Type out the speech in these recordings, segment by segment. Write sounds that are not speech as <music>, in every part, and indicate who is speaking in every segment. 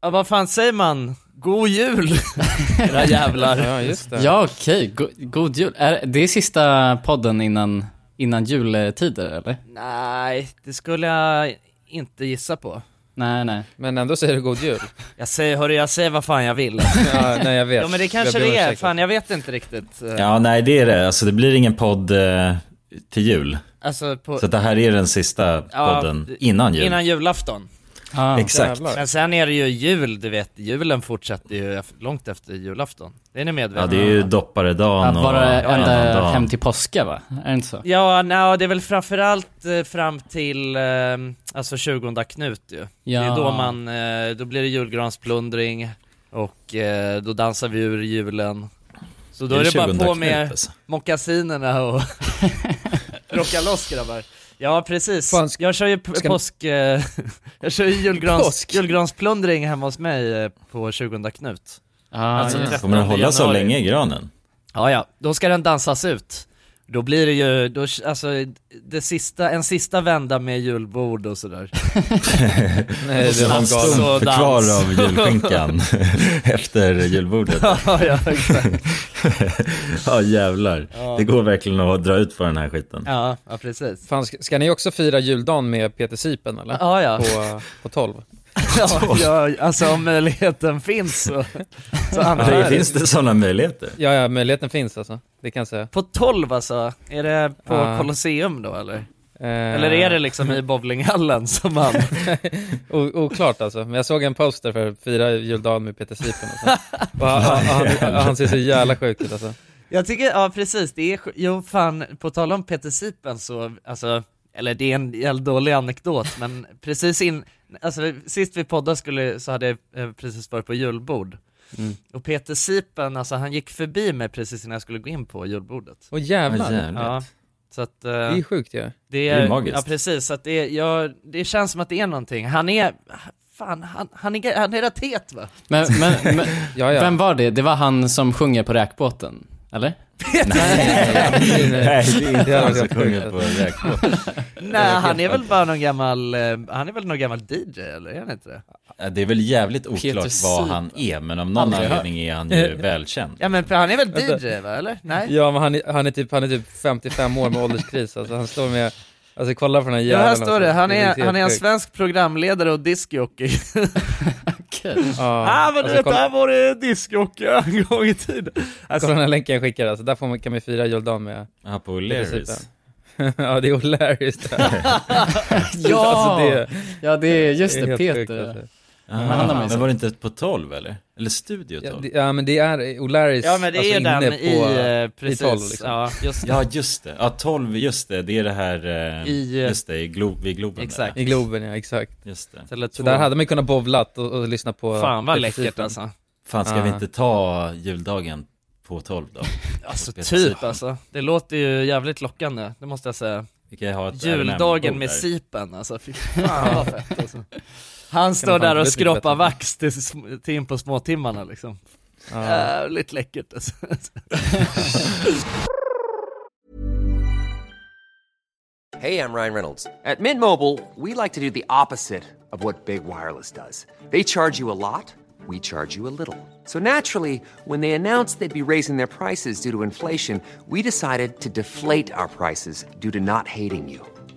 Speaker 1: Ja, vad fan säger man? God <laughs> jul! Era jävlar.
Speaker 2: Ja, just det.
Speaker 3: Ja, okej. Go- God jul. Är det är sista podden innan, innan jultider, eller?
Speaker 1: Nej, det skulle jag inte gissa på.
Speaker 3: Nej, nej.
Speaker 2: Men ändå säger du god jul.
Speaker 1: Jag säger, hörru, jag säger vad fan jag <laughs> vill.
Speaker 2: Ja, nej, jag vet.
Speaker 1: Ja men det kanske det är, fan jag vet inte riktigt. Eh,
Speaker 4: Ja, nej det är det. Alltså det blir ingen podd eh, till jul.
Speaker 1: Alltså på,
Speaker 4: Så det här är den sista
Speaker 1: Ja,
Speaker 4: podden innan jul.
Speaker 1: innan julafton.
Speaker 3: Ah.
Speaker 4: Exakt.
Speaker 2: Jävlar.
Speaker 1: Men sen är det ju jul, du vet, julen fortsätter ju ef- långt efter julafton. Det är ni
Speaker 4: Ja,
Speaker 1: medvetna
Speaker 4: det är ju dopparedagen
Speaker 3: Att
Speaker 4: och
Speaker 3: vara ända
Speaker 4: annandagen.
Speaker 3: hem till påska, va? Är det inte så?
Speaker 1: Ja, no, det är väl framförallt eh, fram till eh, alltså 20 Knut ju. Det är
Speaker 3: Ja.
Speaker 1: då man, eh, då blir det julgransplundring och eh, då dansar vi ur julen. Så då är det, bara
Speaker 4: 20
Speaker 1: på
Speaker 4: knut,
Speaker 1: med
Speaker 4: alltså.
Speaker 1: mockasinerna
Speaker 2: <laughs>
Speaker 1: och rocka loss grabbar. Ja precis,
Speaker 2: Fan, ska-
Speaker 1: jag kör ju p-
Speaker 2: ska-
Speaker 1: påsk, eh, <laughs> jag kör ju julgrans,
Speaker 2: Påsk.
Speaker 1: julgransplundring hemma hos mig eh, på 20 Knut.
Speaker 3: Ah,
Speaker 1: Alltså,
Speaker 3: ja.
Speaker 1: träff-
Speaker 4: Kommer den hålla så
Speaker 1: januari.
Speaker 4: länge i granen?
Speaker 1: Ja, ja, då ska den dansas ut. Då blir det ju, då, alltså, det sista, en sista vända med julbord och
Speaker 2: <laughs>
Speaker 1: sådär.
Speaker 2: Nej, det var
Speaker 4: En
Speaker 2: galet.
Speaker 1: Så
Speaker 4: stump
Speaker 1: dans.
Speaker 4: kvar av
Speaker 1: <laughs>
Speaker 4: julskinkan efter julbordet.
Speaker 1: ja, ja, exakt.
Speaker 4: Ja jävlar. Det går verkligen att dra ut på den här skiten.
Speaker 1: Ja, ja precis.
Speaker 2: Fan, ska, ska ni också fira juldagen med Peter Sipen eller?
Speaker 1: Ja, ja.
Speaker 2: På, på 12?
Speaker 1: <laughs> ja, ja alltså om möjligheten finns så, så antar
Speaker 4: Det
Speaker 1: jag det.
Speaker 4: finns det sådana möjligheter?
Speaker 2: Ja, ja, möjligheten finns alltså. Det kan jag säga.
Speaker 1: På 12 alltså, är det på
Speaker 2: Ja.
Speaker 1: Colosseum då eller?
Speaker 2: Eh,
Speaker 1: Eller är det liksom i bowlinghallen som
Speaker 2: <laughs>
Speaker 1: man...
Speaker 2: O- oklart alltså, men jag såg en poster för fyra juldagen med Peter Sipen och, så. och han, han, han, han ser så jävla sjuk ut alltså.
Speaker 1: Jag tycker, ja precis, det är, sj- jo fan, på tal om Peter Sipen så, alltså, eller det är en jävligt dålig anekdot, men precis in, alltså sist vi poddade skulle, så hade jag eh, precis varit på julbord.
Speaker 2: Mm.
Speaker 1: Och Peter Sipen, alltså han gick förbi mig precis innan jag skulle gå in på julbordet.
Speaker 2: Åh
Speaker 4: Ja,
Speaker 2: jävlar,
Speaker 4: jävlar.
Speaker 1: Ja, så att eh,
Speaker 2: det är sjukt ju. Ja.
Speaker 1: det
Speaker 4: det
Speaker 1: är,
Speaker 4: är magiskt.
Speaker 1: ja precis, så att det, är, ja, det känns som att det är någonting. Han är, fan, han, han, är, han är rätt het va?
Speaker 3: Men,
Speaker 2: <laughs>
Speaker 3: men, men
Speaker 2: Ja, ja.
Speaker 3: vem var det? Det var han som sjunger på räkbåten, eller?
Speaker 2: Nej, nej.
Speaker 4: <laughs> Nej, det är
Speaker 2: Det
Speaker 4: inte
Speaker 2: hade
Speaker 4: han som
Speaker 2: varit
Speaker 4: sjunger
Speaker 2: sjukt.
Speaker 4: på räkbåt.
Speaker 1: <laughs> Nej, han är väl bara någon gammal, eh, han är väl någon gammal DJ eller är han inte det?
Speaker 4: Ja, Eh, Det är väl jävligt
Speaker 3: Peter
Speaker 4: oklart
Speaker 3: Sipen.
Speaker 4: vad han är, men av någon
Speaker 3: Aldrig hört.
Speaker 4: anledning är han ju välkänd.
Speaker 1: Ja men för han är väl
Speaker 2: Vänta.
Speaker 1: DJ va, eller? Nej?
Speaker 2: Ja, men han är, han, är typ, han är typ 55 år med ålderskris alltså. Han står med, alltså kolla på den här
Speaker 1: Ja,
Speaker 2: jäveln.
Speaker 1: här står
Speaker 2: alltså.
Speaker 1: det, han
Speaker 2: helt
Speaker 1: är, han är en
Speaker 2: sjukt.
Speaker 1: svensk programledare och diskjockey.
Speaker 3: Okej.
Speaker 2: Ja.
Speaker 1: <laughs> ah men du
Speaker 2: Alltså,
Speaker 1: vet,
Speaker 2: kolla,
Speaker 1: här var det diskjockey en gång i tiden.
Speaker 2: kolla den här länken jag skickar alltså, där får man, kan vi fira juldagen med <laughs>
Speaker 4: Ja, på
Speaker 2: Peter
Speaker 4: O'Learys.
Speaker 2: Sipen. ja, det är O'Learys där.
Speaker 3: <laughs> Ja!
Speaker 2: <laughs> Alltså, det är-
Speaker 3: Ja, det är just
Speaker 2: det är
Speaker 3: det,
Speaker 2: helt sjukt
Speaker 3: Peter.
Speaker 2: alltså.
Speaker 3: han har
Speaker 4: Ah,
Speaker 3: mig
Speaker 4: men var det inte på 12 eller? Eller Studio
Speaker 2: Ja,
Speaker 4: 12?
Speaker 2: det, ja men det är O'Learys
Speaker 1: Ja men det är ju
Speaker 2: alltså,
Speaker 1: den
Speaker 2: inne
Speaker 1: i,
Speaker 2: på,
Speaker 1: eh, precis,
Speaker 2: 12, liksom.
Speaker 1: ja just det.
Speaker 4: Ja just det, ja 12, just det, det är det här, eh,
Speaker 1: I, eh,
Speaker 4: just det, i glo- vid Globen
Speaker 1: exakt.
Speaker 2: i Globen ja, exakt.
Speaker 4: Där. Just det.
Speaker 1: Eller
Speaker 2: Så
Speaker 1: två.
Speaker 2: där hade man ju kunnat bovlat och, och lyssna på
Speaker 1: Fan vad
Speaker 2: Peter
Speaker 1: läckert
Speaker 2: Sipen.
Speaker 1: alltså.
Speaker 4: Fan ska
Speaker 2: Ah.
Speaker 4: vi inte ta juldagen på 12 då?
Speaker 1: Alltså
Speaker 4: Peter
Speaker 1: typ
Speaker 4: Sipen.
Speaker 1: alltså. Det låter ju jävligt lockande, det måste jag säga.
Speaker 4: Vi kan ha ett
Speaker 1: Juldagen
Speaker 4: ävenbord
Speaker 1: med
Speaker 4: där.
Speaker 1: Sipen alltså, <laughs> fy fan vad fett alltså. Han står
Speaker 2: fan
Speaker 1: där
Speaker 2: bli
Speaker 1: och
Speaker 2: mycket
Speaker 1: skroppar
Speaker 2: bättre.
Speaker 1: vax till, sm- till in på småtimmarna liksom.
Speaker 2: Ja.
Speaker 1: Jävligt läckert alltså.
Speaker 5: Hey, I'm Ryan Reynolds. At Mint Mobile, we like to do the opposite of what Big Wireless does. They charge you a lot, we charge you a little. So naturally, when they announced they'd be raising their prices due to inflation, we decided to deflate our prices due to not hating you.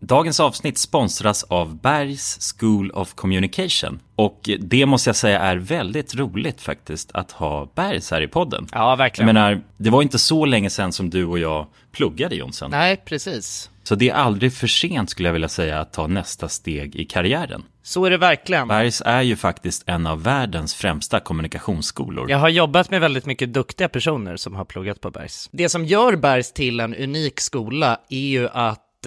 Speaker 4: Dagens avsnitt sponsras av Bergs School of Communication. Och det måste jag säga är väldigt roligt faktiskt att ha Bergs här i podden.
Speaker 1: Ja
Speaker 4: Jag
Speaker 1: verkligen.
Speaker 4: menar, det var inte så länge sedan som du och jag pluggade Jonsson.
Speaker 1: Nej precis.
Speaker 4: Så det är aldrig för sent skulle jag vilja säga att ta nästa steg i karriären.
Speaker 1: Så är det verkligen.
Speaker 4: Bergs är ju faktiskt en av världens främsta kommunikationsskolor.
Speaker 1: Jag har jobbat med väldigt mycket duktiga personer som har pluggat på Bergs. Det som gör Bergs till en unik skola är ju att
Speaker 6: att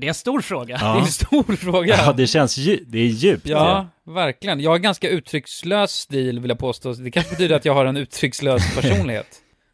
Speaker 6: Det är en stor fråga.
Speaker 2: Det är en stor fråga.
Speaker 4: Ja, det känns dju- det är djupt.
Speaker 2: Ja, verkligen. Jag har ganska uttryckslös stil vill jag påstå. Det kanske betyder att jag har en uttryckslös
Speaker 1: <laughs>
Speaker 2: personlighet.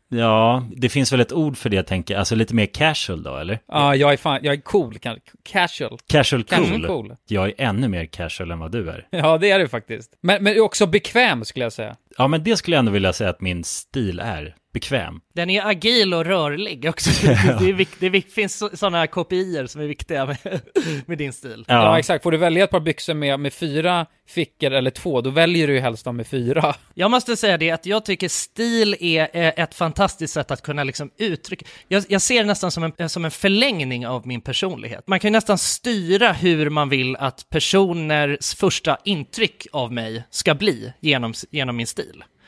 Speaker 4: ja, det finns väl ett ord för det tänker jag. Alltså lite mer casual då, eller?
Speaker 2: Ja, jag är fan, jag är cool, kan- casual.
Speaker 4: Casual cool.
Speaker 2: Casual cool.
Speaker 4: Jag är ännu mer casual än vad du är.
Speaker 2: <laughs> Ja, det är du faktiskt. Men, men också bekväm skulle jag säga.
Speaker 4: Ja, men det skulle jag ändå vilja säga att min stil är. Bekväm.
Speaker 6: <laughs> Den är agil och rörlig också. Det, är vik- det, är vik- finns sådana kopior som är viktiga med, <laughs> med din stil.
Speaker 2: Ja.
Speaker 4: Ja,
Speaker 2: exakt. Får du välja ett par byxor med, med fyra fickor eller två, då väljer du ju helst de med fyra. <laughs>
Speaker 6: Jag måste säga det att jag tycker stil är eh, ett fantastiskt sätt att kunna liksom uttrycka. Jag, jag ser det nästan som en, eh, som en förlängning av min personlighet. Man kan ju nästan styra hur man vill att personers första intryck av mig ska bli genom, genom min stil.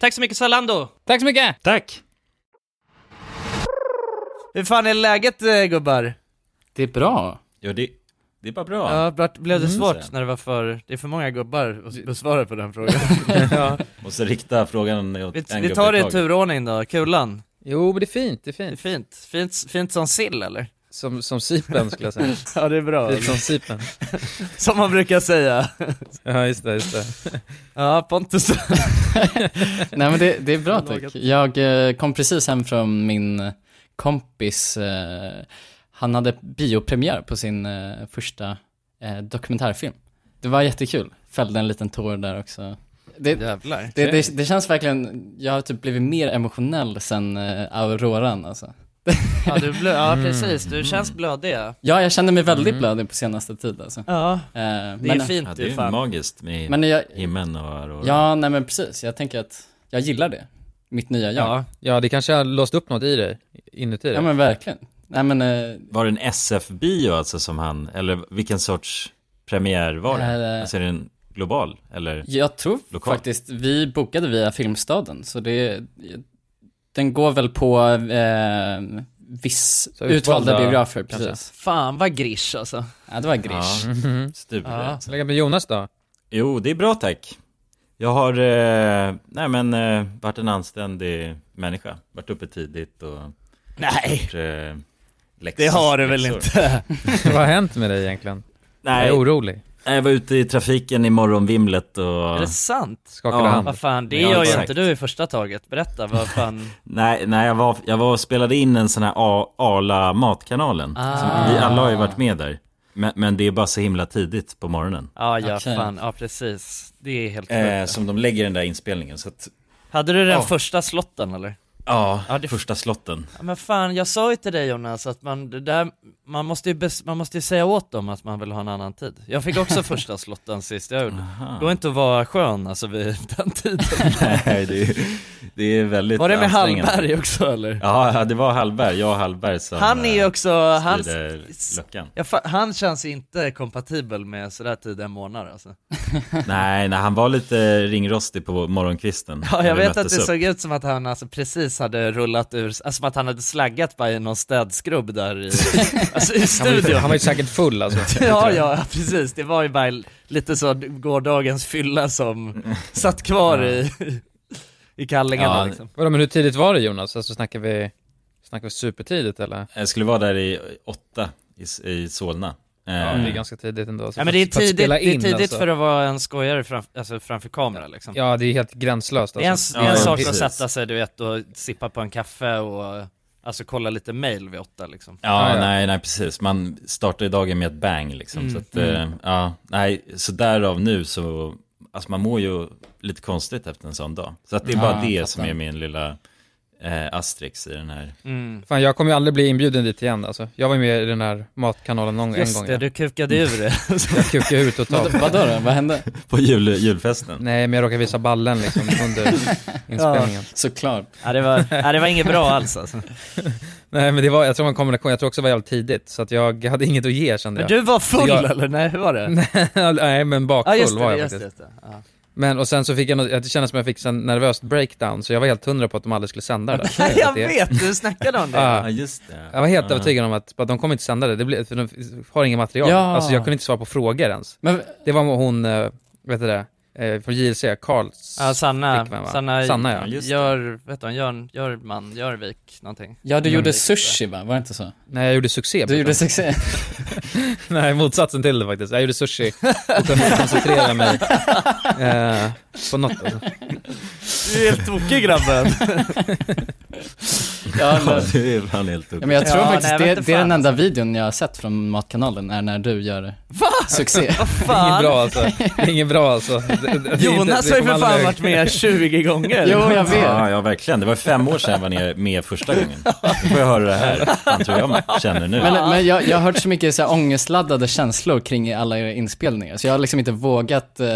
Speaker 6: Tack så mycket Zalando!
Speaker 2: Tack så mycket!
Speaker 4: tack!
Speaker 1: Hur fan är läget eh, gubbar?
Speaker 3: Det är bra.
Speaker 4: Ja, det, det är bara bra.
Speaker 1: Ja, Bart, blev det svårt
Speaker 4: så.
Speaker 1: när det var för, det är för många gubbar att s- besvara på den <laughs> frågan.
Speaker 4: Måste rikta frågan åt
Speaker 1: Vi,
Speaker 4: en
Speaker 1: vi
Speaker 4: grupp
Speaker 1: tar det i
Speaker 4: taget.
Speaker 1: turordning då, kulan.
Speaker 2: Jo, men det är fint, det är
Speaker 1: Det är
Speaker 2: fint.
Speaker 1: fint, fint, fint som sill eller?
Speaker 2: Som, som sipen skulle jag <laughs> säga.
Speaker 1: Ja det är bra,
Speaker 2: Fint som sipen.
Speaker 1: som man brukar säga.
Speaker 2: Ja, just det, just det.
Speaker 1: Ja, Pontus.
Speaker 3: Nej men det, det är bra tack. Jag eh, kom precis hem från min eh, kompis, eh, han hade biopremiär på sin eh, första eh, dokumentärfilm. Det var jättekul, fällde en liten tår där också. Det,
Speaker 1: Jävlar.
Speaker 3: det, det, det känns verkligen, jag har typ blivit mer emotionell sen eh, auroran alltså.
Speaker 1: Ja, du blö- ja precis, du känns blödig Mm. ja.
Speaker 3: Ja, jag känner mig väldigt blödig på senaste tid alltså. Eh,
Speaker 1: Mm. Ja, det är
Speaker 3: men,
Speaker 1: fint
Speaker 4: Ja, det
Speaker 1: ju
Speaker 4: är ju
Speaker 1: fan.
Speaker 4: magiskt med
Speaker 3: men jag,
Speaker 4: himlen och aurora.
Speaker 3: ja nej men precis, jag tänker att jag gillar det. Mitt nya jag. Ja,
Speaker 1: Ja,
Speaker 2: Ja, det kanske har låst upp något i dig, inuti dig.
Speaker 3: men verkligen. Nej men, eh,
Speaker 4: Var det en SF-bio alltså som han, eller vilken sorts premiär var det?
Speaker 3: Eh,
Speaker 1: Äh,
Speaker 4: Alltså är den global eller?
Speaker 3: Jag tror
Speaker 4: Lokalt.
Speaker 3: faktiskt, vi bokade via Filmstaden, så det, den går väl på eh, viss
Speaker 2: Så
Speaker 3: utvalda,
Speaker 2: utvalda
Speaker 3: biografer,
Speaker 2: kanske.
Speaker 3: precis.
Speaker 1: fan vad grisch alltså.
Speaker 3: Ja, det var Grish.
Speaker 1: Mm.
Speaker 4: Stulet.
Speaker 2: Så lägga med Jonas då?
Speaker 4: Jo, det är bra tack. Jag har, eh, nej men, eh, varit en anständig människa. Varit uppe tidigt och...
Speaker 1: Nej,
Speaker 4: Gjort, eh, läxor.
Speaker 1: det har du väl
Speaker 4: Läxor.
Speaker 1: inte?
Speaker 2: Vad har hänt med dig egentligen? Jag
Speaker 4: Nej,
Speaker 2: är orolig.
Speaker 4: nej, jag var ute i trafiken i morgonvimlet
Speaker 1: Är
Speaker 4: och...
Speaker 1: det sant?
Speaker 2: Skakade
Speaker 4: Ja.
Speaker 2: hand.
Speaker 1: Vad fan, det
Speaker 4: Ja,
Speaker 1: gör ju
Speaker 4: exakt.
Speaker 1: inte du i första taget. Berätta, <laughs> vad fan.
Speaker 4: Nej, nej jag, var, jag var och spelade in en sån här A- Arla Matkanalen.
Speaker 1: Ah.
Speaker 4: Som, vi alla har ju varit med där. Men, men det är bara så himla tidigt på morgonen.
Speaker 1: Ja, ja,
Speaker 3: Okej.
Speaker 1: fan, ja precis. Det är helt
Speaker 4: Eh,
Speaker 1: sjukt.
Speaker 4: som de lägger den där inspelningen. Så att,
Speaker 1: Hade du den första slotten eller?
Speaker 4: ja,
Speaker 1: Ja, det-
Speaker 4: första slotten.
Speaker 1: Ja, Men fan, jag sa ju till dig Jonas att man, det där, man, måste ju bes, man måste ju säga åt dem att man vill ha en annan tid. Jag fick <laughs> också första <laughs> slotten sist jag gjorde. Går inte att vara skön alltså vid den tiden.
Speaker 4: <laughs> Nej, det är, Det är väldigt
Speaker 1: Var det med
Speaker 4: ansträngande.
Speaker 1: Hallberg också eller?
Speaker 4: Ja, ja, det var Hallberg. Jag och Hallberg som
Speaker 1: Han är ju
Speaker 4: eh,
Speaker 1: också, han,
Speaker 4: styrde luckan.
Speaker 1: ja, fa- han känns ju inte kompatibel med sådär tid en månad alltså.
Speaker 4: Nej, nej, han var lite ringrostig på morgonkvisten.
Speaker 1: Ja,
Speaker 4: när
Speaker 1: jag
Speaker 4: vi
Speaker 1: vet att
Speaker 4: möttes
Speaker 1: det
Speaker 4: upp.
Speaker 1: såg ut som att han alltså precis hade rullat ur, alltså som att han hade slaggat bara i någon städskrubb där i, <laughs> alltså i
Speaker 2: Han var, ju, han
Speaker 1: studion.
Speaker 2: var ju säkert full <laughs>
Speaker 1: <laughs>
Speaker 2: alltså.
Speaker 1: Ja, ja, precis. Det var ju bara lite så gårdagens fylla <laughs> som satt kvar i, i kallingarna
Speaker 4: Ja,
Speaker 1: liksom.
Speaker 2: Vadå, men hur tidigt var det Jonas? Alltså snackar vi, snackar vi supertidigt eller?
Speaker 4: Jag skulle vara där i åtta i, S- i Solna.
Speaker 2: Ja,
Speaker 4: Eh,
Speaker 2: det är ganska tidigt ändå. Alltså,
Speaker 1: Ja men det är
Speaker 2: för att- för att
Speaker 1: tidigt,
Speaker 2: spela
Speaker 1: det är
Speaker 2: in,
Speaker 1: tidigt
Speaker 2: alltså.
Speaker 1: för att vara en skojare fram, alltså framför kamera liksom.
Speaker 2: Ja, det är helt gränslöst
Speaker 1: Det är en,
Speaker 2: alltså.
Speaker 1: det är en
Speaker 4: Ja,
Speaker 1: sak
Speaker 4: precis.
Speaker 1: att sätta sig du vet och sippa på en kaffe och alltså kolla lite mail vid åtta liksom.
Speaker 4: Ja,
Speaker 2: Ja, ja.
Speaker 4: nej, nej, precis. Man startar ju dagen med ett bang liksom. Så att, eh, ja, nej, så därav nu så, alltså man mår ju lite konstigt efter en sån dag. Så att det är bara
Speaker 3: Ja,
Speaker 4: det
Speaker 3: jag
Speaker 4: som
Speaker 3: fattar.
Speaker 4: är min lilla eh, asterix i den här. <laughs>
Speaker 2: Fan, jag kommer ju aldrig bli inbjuden dit igen alltså. Jag var ju med i den här matkanalen någon en
Speaker 1: Just
Speaker 2: gång.
Speaker 1: det,
Speaker 2: ja.
Speaker 1: du kukade ur det.
Speaker 2: Jag kukade ur totalt.
Speaker 3: Vadå, vadå då? Vad hände?
Speaker 4: På jul, julfesten.
Speaker 2: Nej, men jag råkade visa ballen liksom
Speaker 1: <laughs>
Speaker 2: under inspelningen.
Speaker 3: Såklart.
Speaker 1: <laughs> ja, det var, ja, det var inget bra alls alltså.
Speaker 2: Nej, men det var, jag tror man kommer jag tror också det var jävligt tidigt, så att jag hade inget att ge kände
Speaker 1: Men <laughs>
Speaker 2: jag.
Speaker 1: du var full
Speaker 2: Jag-
Speaker 1: eller? Nej, hur var det?
Speaker 2: <laughs> Nej, men bakfull
Speaker 1: ja just
Speaker 2: var
Speaker 1: det,
Speaker 2: jag
Speaker 1: just
Speaker 2: faktiskt.
Speaker 1: det. Ja.
Speaker 2: Men och sen så fick jag, något- det kändes som jag fick en nervös breakdown, så jag var helt hundra på att de aldrig skulle sända det där.
Speaker 1: Nej,
Speaker 2: Att
Speaker 1: <laughs> jag
Speaker 2: det-
Speaker 1: vet, du snackade om det.
Speaker 2: Ah,
Speaker 4: Ja, just det.
Speaker 2: Jag var helt
Speaker 4: Ja.
Speaker 2: övertygad om att bara, de kommer inte sända det, det blir, för de har inget material.
Speaker 3: Ja.
Speaker 2: Alltså jag kunde inte svara på frågor ens.
Speaker 3: Men
Speaker 2: Det var hon, eh, vet du det, eh, från JLC, Karls
Speaker 1: Ja, Sanna,
Speaker 2: flickvän, va?
Speaker 1: Sanna,
Speaker 2: Sanna
Speaker 4: Ja,
Speaker 2: ja.
Speaker 4: just det.
Speaker 1: gör, vet du, gör, gör man, Görvik någonting.
Speaker 3: ja, du
Speaker 2: Mm.
Speaker 3: gjorde sushi va? Var det inte så?
Speaker 2: Nej jag gjorde succé.
Speaker 3: Du
Speaker 2: på
Speaker 3: gjorde
Speaker 2: det.
Speaker 3: succé.
Speaker 2: Nej motsatsen till det faktiskt. Jag gjorde sushi och kunde koncentrera mig eh, på något. Alltså.
Speaker 1: <laughs> Du är helt tokig grabben.
Speaker 3: <laughs>
Speaker 4: <laughs>
Speaker 3: Ja, men,
Speaker 4: Ja, det är fan helt
Speaker 3: ja,
Speaker 4: upp.
Speaker 3: men jag tror
Speaker 1: Ja,
Speaker 3: faktiskt
Speaker 1: nej, jag
Speaker 3: det,
Speaker 1: vet inte
Speaker 3: det är den
Speaker 1: fan.
Speaker 3: enda videon jag har sett från Matkanalen, är när du gör succé.
Speaker 2: Inget
Speaker 1: Fan.
Speaker 2: bra alltså. Det är inget bra alltså. Det- det- det är inte-
Speaker 1: Jonas
Speaker 2: det
Speaker 1: har ju
Speaker 2: kommer
Speaker 1: för
Speaker 2: aldrig-
Speaker 1: fan varit med 20 gånger.
Speaker 3: jo, <laughs> jag vet.
Speaker 4: Ja, ja, verkligen. Det var fem år sedan jag var nere med första gången. Nu får jag höra det här. Fan tror jag man känner nu.
Speaker 3: Men, men jag, jag har hört så mycket så här, ångestladdade känslor kring alla era inspelningar, så jag har liksom inte vågat eh,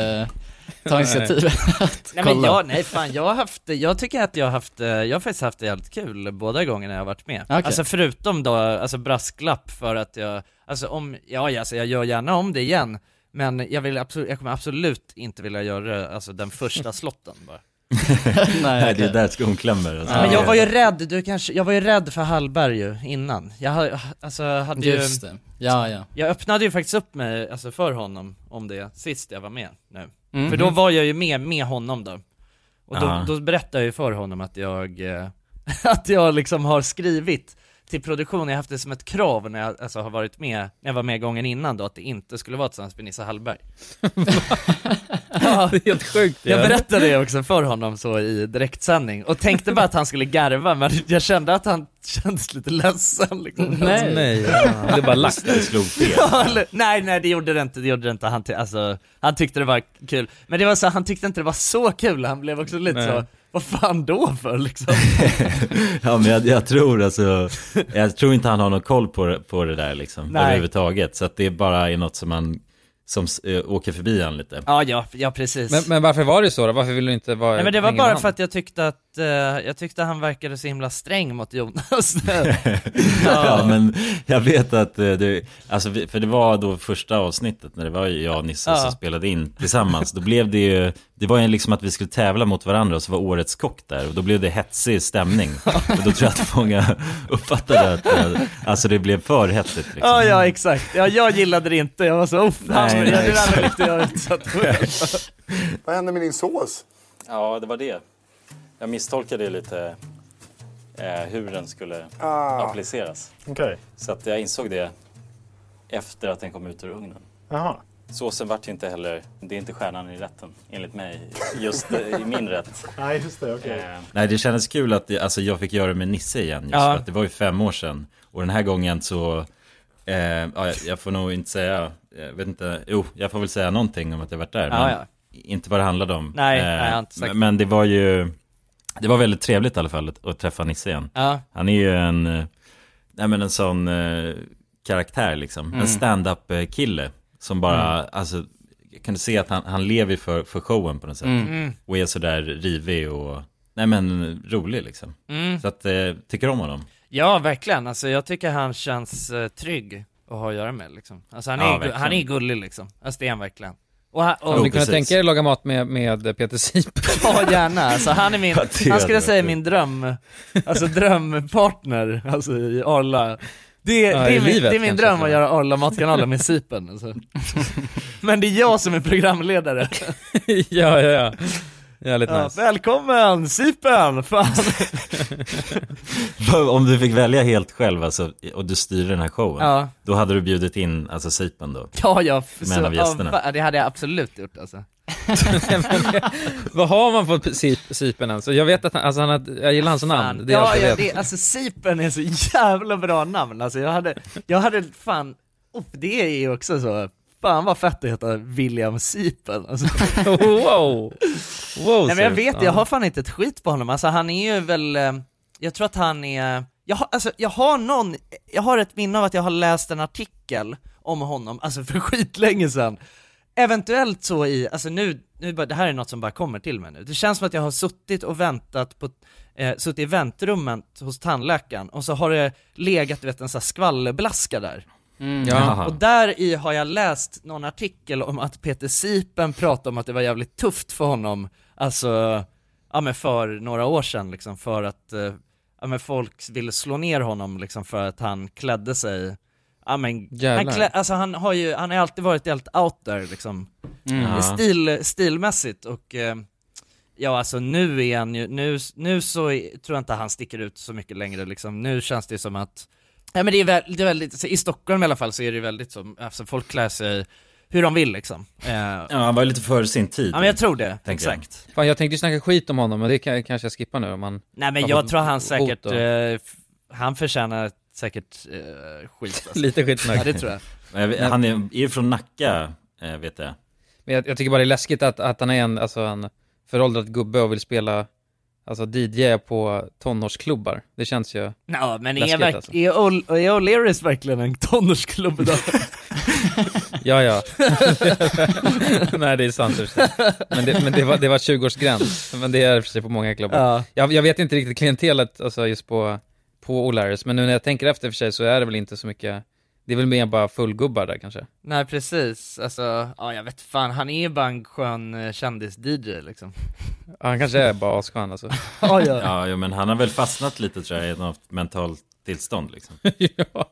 Speaker 3: ta initiativ <laughs> att
Speaker 1: <laughs> Nej men
Speaker 3: kolla.
Speaker 1: jag, nej fan jag har haft, jag tycker att jag har haft, eh, jag har faktiskt haft det jävligt kul båda gångerna jag har varit med.
Speaker 3: Okej.
Speaker 1: Alltså förutom då, alltså brasklapp för att jag, alltså om, ja ja, alltså jag gör gärna om det igen, men jag vill absolut, jag kommer absolut inte vilja göra det, alltså den första slotten bara.
Speaker 3: Nej,
Speaker 4: Nej, det
Speaker 3: okej.
Speaker 4: är där skon klämmer. Alltså.
Speaker 1: Men jag var ju rädd, du kanske, jag var ju rädd för Hallberg ju innan. Jag har- alltså hade ju,
Speaker 3: Just det. Ja, ja.
Speaker 1: jag öppnade ju faktiskt upp mig, alltså för honom om det sist jag var med nu.
Speaker 3: Mm.
Speaker 1: För då var jag ju med, med honom då. Och då,
Speaker 4: Ja.
Speaker 1: då berättade jag ju för honom att jag, eh, <laughs> att jag liksom har skrivit till produktionen, jag har haft det som ett krav när jag alltså, har varit med, när jag var med gången innan då, att det inte skulle vara tillsammans med Nisse Hallberg. ja,
Speaker 2: <laughs> Det är helt sjukt.
Speaker 1: jag
Speaker 2: ja.
Speaker 1: berättade det också för honom så i direktsändning, och tänkte bara att han skulle garva, men jag kände att han <laughs> kändes lite ledsen liksom.
Speaker 3: Nej.
Speaker 2: Nej, det är bara lack.
Speaker 4: Det slog fel.
Speaker 1: Ja, eller- <laughs> nej, nej det gjorde det inte, det gjorde det inte. Han, ty- alltså, han tyckte det var kul. Men det var så, han tyckte inte det var så kul, han blev också lite
Speaker 2: Nej.
Speaker 1: så, vad fan då för liksom?
Speaker 4: Ja, men jag, jag tror alltså, jag tror inte han har någon koll på, det- på det där liksom,
Speaker 1: Nej.
Speaker 4: överhuvudtaget. Så att det bara är något som man, som s- eh, åker förbi han lite.
Speaker 1: ja, ja, ja precis.
Speaker 2: Men, men varför var det så då? Varför ville du inte vara
Speaker 1: nej men det var
Speaker 2: hänga med
Speaker 1: bara
Speaker 2: han?
Speaker 1: för att jag tyckte att, eh, jag tyckte han verkade så himla sträng mot Jonas.
Speaker 4: Ja, men jag vet att eh, du, alltså, vi- för det var då första avsnittet när det var ju jag och Nisse
Speaker 1: Ja.
Speaker 4: som spelade in tillsammans. Då blev det ju, det var ju liksom att vi skulle tävla mot varandra och så var årets kock där och då blev det hetsig stämning. Och då tror jag att många uppfattade att, eh, alltså det blev för hetsigt liksom.
Speaker 1: ja, <laughs> ja exakt. Ja, jag gillade det inte, jag var så, oh, fan,
Speaker 4: Nej,
Speaker 1: nej,
Speaker 4: nej,
Speaker 1: det där
Speaker 4: exakt.
Speaker 1: var inte jag utsatt för.
Speaker 7: Vad hände med din sås?
Speaker 4: Ja, det var det. Jag misstolkade lite eh, hur den skulle appliceras.
Speaker 7: Okej.
Speaker 4: Så att jag insåg det efter att den kom ut ur ugnen.
Speaker 7: Jaha.
Speaker 4: Såsen vart ju inte heller, det är inte stjärnan i rätten enligt mig, just eh, i
Speaker 7: <laughs>
Speaker 4: min rätt. Eh.
Speaker 7: Nej, just det. Okej.
Speaker 4: Nej, det kändes kul att det, alltså, jag fick göra det med Nisse igen. Just,
Speaker 1: Ja.
Speaker 4: för att det var ju fem år sedan. Och den här gången så, eh, ja, jag- jag får nog inte säga, jag vet inte, jo, jag får väl säga någonting om att jag varit där.
Speaker 1: Ja,
Speaker 4: men
Speaker 1: ja.
Speaker 4: Inte vad det handlade om. Eh,
Speaker 1: Nej, nej, jag har inte sagt-
Speaker 4: men, men det var ju, det var väldigt trevligt i alla fall att, att träffa Nisse igen.
Speaker 1: Ja,
Speaker 4: Han är ju en, eh, nej men en sån eh, karaktär liksom.
Speaker 1: Mm.
Speaker 4: En stand-up eh, kille som bara, alltså,
Speaker 1: Mm.
Speaker 4: jag kunde se att han, han lever för, för showen på något sätt. Och är sådär rivig och Nej men rolig liksom.
Speaker 1: Mm.
Speaker 4: Så att, eh, tycker om honom.
Speaker 1: Ja, verkligen. Alltså jag tycker han känns eh, trygg att ha att göra med liksom. Alltså han
Speaker 4: Ja,
Speaker 1: är, gu-
Speaker 4: verkligen.
Speaker 1: han är gullig liksom. Alltså det är han verkligen. Och, han- och
Speaker 4: Jo,
Speaker 2: Om ni kunde
Speaker 4: precis.
Speaker 2: tänka er laga mat med, med Peter Sipen.
Speaker 1: Ja gärna, alltså han är min,
Speaker 4: Ja, det
Speaker 1: han
Speaker 4: hade
Speaker 1: skulle
Speaker 4: varit
Speaker 1: säga
Speaker 4: kul.
Speaker 1: min dröm, alltså drömpartner, alltså i Arla Det,
Speaker 2: Ja,
Speaker 1: det, är,
Speaker 2: i
Speaker 1: min,
Speaker 2: livet
Speaker 1: det är min
Speaker 2: kanske,
Speaker 1: dröm att
Speaker 2: så.
Speaker 1: göra Arla Matkanalen med Sipen alltså. Men det är jag som är programledare.
Speaker 2: <laughs> ja, ja, ja. Jävligt
Speaker 1: Ja,
Speaker 2: nice. <laughs>
Speaker 1: välkommen Sipen! Fan.
Speaker 4: Om du fick välja helt själv alltså, och du styr den här showen,
Speaker 1: Ja,
Speaker 4: då hade du bjudit in alltså Sipen då?
Speaker 1: ja, ja,
Speaker 4: Med en av gästerna.
Speaker 1: ja, fan, det hade jag absolut gjort alltså.
Speaker 2: Vad har man fått Sip, Sipen alltså? Jag vet att han, alltså han har, jag gillar hans namn.
Speaker 1: Fan.
Speaker 2: Det är
Speaker 1: ja,
Speaker 2: allt jag
Speaker 1: ja,
Speaker 2: vet.
Speaker 1: det, alltså Sipen är så jävla bra namn, alltså jag hade, jag hade fan, oh, det är ju också så, fan vad fett att heta William Sipen alltså.
Speaker 2: <laughs> Wow! wow
Speaker 1: Nej men jag
Speaker 2: Sip.
Speaker 1: vet, jag har fan inte ett skit på honom, alltså han är ju väl, eh, jag tror att han är, jag har, alltså, jag har någon, jag har ett minne av att jag har läst en artikel om honom, alltså för <laughs> skitlänge sedan. Eventuellt så i, alltså nu, nu bara, det här är något som bara kommer till mig nu. Det känns som att jag har suttit och väntat på, eh, suttit i väntrummet hos tandläkaren och så har det legat du vet en sån här skvallerblaska där.
Speaker 2: Ja.
Speaker 4: Jaha.
Speaker 1: Och där i har jag läst någon artikel om att Peter Sipen pratade om att det var jävligt tufft för honom, alltså, ja men för några år sedan liksom, för att, eh, ja men folk ville slå ner honom liksom för att han klädde sig, ja men, han,
Speaker 2: Jävlar.
Speaker 1: klä, alltså han har ju, han har alltid varit helt out there liksom,
Speaker 4: Ja.
Speaker 1: stil, stilmässigt och eh, Ja alltså nu är han ju, nu, nu så är- tror jag inte han sticker ut så mycket längre liksom, nu känns det som att Nej men det är, väl, det är väldigt, så i Stockholm i alla fall så är det ju väldigt så, alltså folk klär sig hur de vill liksom eh, Ja
Speaker 4: Ja, han var ju lite före sin tid.
Speaker 1: men jag tror det,
Speaker 4: tänker jag.
Speaker 1: exakt
Speaker 2: Fan, jag tänkte ju snacka skit om honom, men det kan, kanske jag skippar nu om man...
Speaker 1: Nej men
Speaker 2: Ja,
Speaker 1: jag
Speaker 2: men
Speaker 1: tror han
Speaker 2: hot
Speaker 1: säkert,
Speaker 2: då?
Speaker 1: eh, f- han förtjänar säkert eh, skit alltså.
Speaker 2: Lite
Speaker 1: Ja
Speaker 2: skitsnack.
Speaker 1: det tror jag
Speaker 4: Jag vet- Han är, är ju från Nacka, eh, vet jag.
Speaker 2: Men jag, jag tycker bara det är läskigt att, att han är en, alltså en föråldrad gubbe och vill spela, alltså DJ på tonårsklubbar. Det känns ju...
Speaker 1: Nå, men är,
Speaker 2: Läskigt,
Speaker 1: verk-
Speaker 2: alltså.
Speaker 1: är, Ol- är O'Learys verkligen en tonårsklubb då?
Speaker 2: Ja, ja. <laughs> Nej, det är sant. i och för sig. Men det, men det var, det var 20-årsgräns. Men det är i och för sig på många klubbar.
Speaker 1: ja.
Speaker 2: Jag, jag vet inte riktigt klientelet alltså just på, på O'Larrys, men nu när jag tänker efter i och för sig så är det väl inte så mycket, det är väl mer bara fullgubbar där kanske.
Speaker 1: <laughs> Nej precis, alltså, ja jag vet fan, han är ju bara en skön eh, kändis-DJ liksom
Speaker 2: Ja, Han kanske är bara asskön alltså.
Speaker 1: Ja ja,
Speaker 4: Ja, jo, men han har väl fastnat lite tror jag i något mentalt tillstånd liksom.
Speaker 2: ja.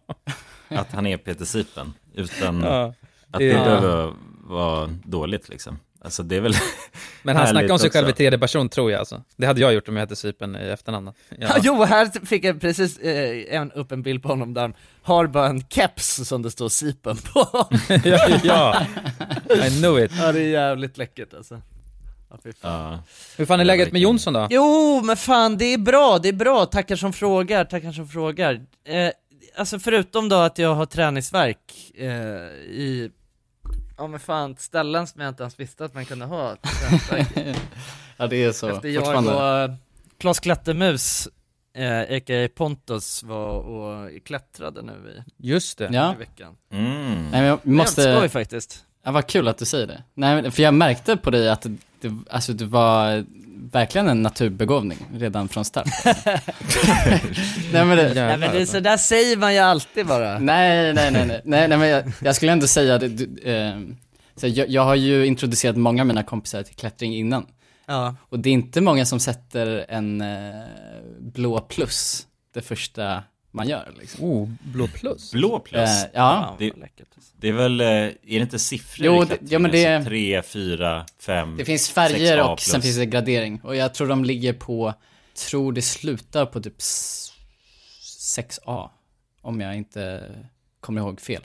Speaker 4: Att han är Peter Sipen, utan
Speaker 2: Ja.
Speaker 4: att det
Speaker 2: Ja.
Speaker 4: behöver vara dåligt liksom. Alltså det är väl,
Speaker 2: Men han
Speaker 4: Härligt
Speaker 2: snackar om sig själv i
Speaker 4: också.
Speaker 2: tredje person tror jag alltså. Det hade jag gjort om jag hette Cypern i efternamn. Ja.
Speaker 1: <laughs> Jo, här fick jag precis eh, en, upp en bild på honom där han har bara en keps som det står Sipen på
Speaker 2: ja, ja, I knew it.
Speaker 1: Ja det är jävligt läckert alltså ja, fy fan.
Speaker 4: <laughs> ja.
Speaker 2: Hur fan är läget med Jonsson då?
Speaker 1: Jo men fan det är bra, det är bra, tackar som frågar, tackar som frågar eh, Alltså förutom då att jag har träningsverk eh, i, ja men fan ställen som jag inte ens visste att man kunde ha träningsvärk i.
Speaker 3: ja, det är så
Speaker 1: Efter jag
Speaker 3: fortfarande.
Speaker 1: och eh, Klas Klättermus, eh, a.k.a. Pontus, var och klättrade nu i,
Speaker 2: Just det.
Speaker 1: i
Speaker 3: Ja,
Speaker 1: veckan.
Speaker 4: Mm.
Speaker 3: nej, men jag måste...
Speaker 1: Jävligt skoj faktiskt.
Speaker 3: Ja, vad kul att du säger det. Nej, men- för jag märkte på dig att du, alltså, du var verkligen en naturbegåvning redan
Speaker 1: <laughs>
Speaker 3: från start. nej, men det,
Speaker 1: Nej men det, så där säger man ju alltid bara.
Speaker 3: nej, nej, nej, nej, nej, nej, men jag, jag skulle ändå säga det, du, eh, så jag, jag har ju introducerat många av mina kompisar till klättring innan.
Speaker 1: Ja.
Speaker 3: Och det är inte många som sätter en eh, blå plus det första man gör liksom.
Speaker 2: Oh, blå plus.
Speaker 4: Blå plus.
Speaker 3: Eh, ja,
Speaker 1: Fan,
Speaker 4: det-
Speaker 1: vad läckert. alltså.
Speaker 4: Det är väl, eh, är det inte siffror
Speaker 3: Jo,
Speaker 4: i
Speaker 3: det-
Speaker 4: klättringen?
Speaker 3: ja, men det-
Speaker 4: Alltså Tre, fyra, fem,
Speaker 3: Det finns
Speaker 4: 6A+.
Speaker 3: färger och sen finns det gradering. Och jag tror de ligger på, tror det slutar på typ s- 6A. Om jag inte kommer ihåg fel.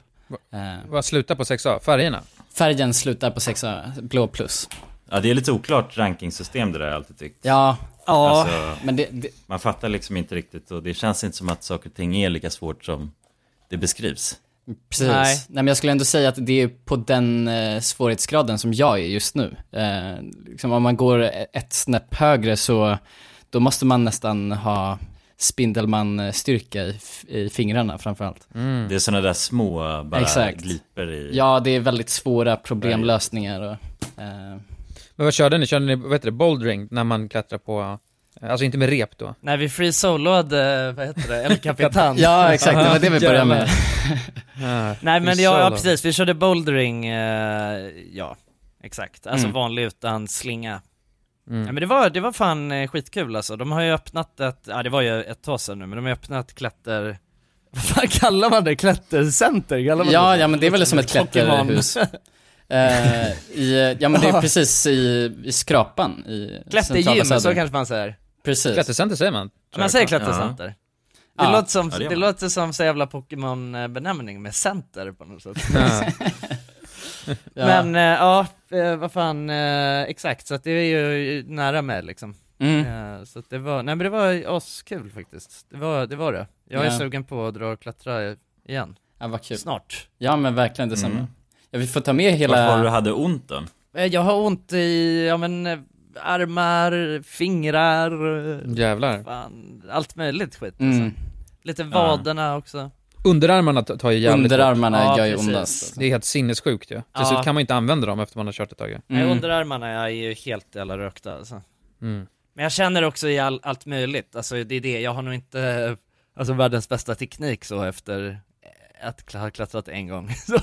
Speaker 3: Eh,
Speaker 2: Vad slutar på 6A? Färgerna?
Speaker 3: färgen slutar på 6A, blå plus.
Speaker 4: Ja, det är lite oklart rankingsystem det där har jag alltid tyckt.
Speaker 3: Ja,
Speaker 1: Ja,
Speaker 4: Alltså,
Speaker 3: men det, det,
Speaker 4: man fattar liksom inte riktigt och det känns inte som att saker och ting är lika svårt som det beskrivs.
Speaker 3: precis.
Speaker 1: Nej.
Speaker 3: Nej. men jag skulle ändå säga att det är på den eh, svårighetsgraden som jag är just nu. Eh, liksom om man går e- ett snäpp högre så, då måste man nästan ha Spindelman-styrka i, f- i fingrarna framförallt.
Speaker 1: Mm.
Speaker 4: Det är sådana där små bara
Speaker 3: Mm. Exakt.
Speaker 4: glipor i...
Speaker 3: Ja, det är väldigt svåra problemlösningar och, eh,
Speaker 2: Men vad körde ni? Körde ni, vad heter det, bouldering? När man klättrar på Alltså inte med rep då?
Speaker 1: När vi free soloade, vad heter det, El Capitan <laughs>
Speaker 3: Ja, exakt, det var det vi började med.
Speaker 2: Ah,
Speaker 1: Nej men
Speaker 2: free
Speaker 1: ja, ja
Speaker 2: solo.
Speaker 1: precis, vi körde bouldering, eh, ja exakt, alltså
Speaker 3: Mm.
Speaker 1: vanlig utan slinga
Speaker 2: Mm.
Speaker 1: Ja men det var, det var fan eh, skitkul alltså, de har ju öppnat ett, ja det var ju ett tag sedan nu men de har öppnat klätter, <laughs> vad fan kallar man det? Klättercenter? Kallar man
Speaker 3: Ja,
Speaker 1: det?
Speaker 3: ja men det är väl som ett
Speaker 1: Pokémon.
Speaker 3: klätterhus. Eh, i,
Speaker 1: <laughs>
Speaker 3: ja men det är precis i, i Skrapan i centrala
Speaker 1: Klättergym, så
Speaker 3: Söder.
Speaker 1: kanske man säger
Speaker 3: Precis.
Speaker 2: Klättercenter säger man?
Speaker 1: Ja, Man säger klättercenter Det,
Speaker 3: Ja.
Speaker 1: låter som,
Speaker 4: Ja, det
Speaker 1: det,
Speaker 4: gör man.
Speaker 1: låter som så jävla Pokémon-benämning med center på något sätt
Speaker 2: Ja.
Speaker 3: <laughs> Ja.
Speaker 1: Men eh, ja, eh, vad fan, eh, exakt, så att det är ju nära med liksom
Speaker 3: mm.
Speaker 1: Eh, Så att det var, nej men det var askul faktiskt, det var det, var det. Jag är
Speaker 3: Ja.
Speaker 1: sugen på att dra och klättra igen,
Speaker 3: ja, vad kul.
Speaker 1: snart
Speaker 3: Ja men verkligen detsamma.
Speaker 4: Mm.
Speaker 3: Ja, vi får ta med hela...
Speaker 4: Varför var det du hade ont då?
Speaker 1: Eh, Jag har ont i, ja men, eh, armar, fingrar, eh,
Speaker 2: Jävlar.
Speaker 1: fan, allt möjligt skit
Speaker 3: Mm.
Speaker 1: alltså. Lite vaderna också
Speaker 2: Underarmarna t- tar ju jävligt
Speaker 3: Underarmarna
Speaker 1: Ja,
Speaker 3: gör ju
Speaker 1: precis.
Speaker 3: ondast.
Speaker 2: Det är helt sinnessjukt ju. Till
Speaker 1: Ja.
Speaker 2: slut kan man ju inte använda dem efter man har kört ett tag ju.
Speaker 1: Nej,
Speaker 3: Mm.
Speaker 1: Underarmarna är ju helt jävla rökta alltså.
Speaker 2: Mm.
Speaker 1: Men jag känner också i all, allt möjligt, alltså det är det, jag har nog inte, eh, alltså världens bästa teknik så efter eh, att kla- ha klättrat en gång. <laughs> så,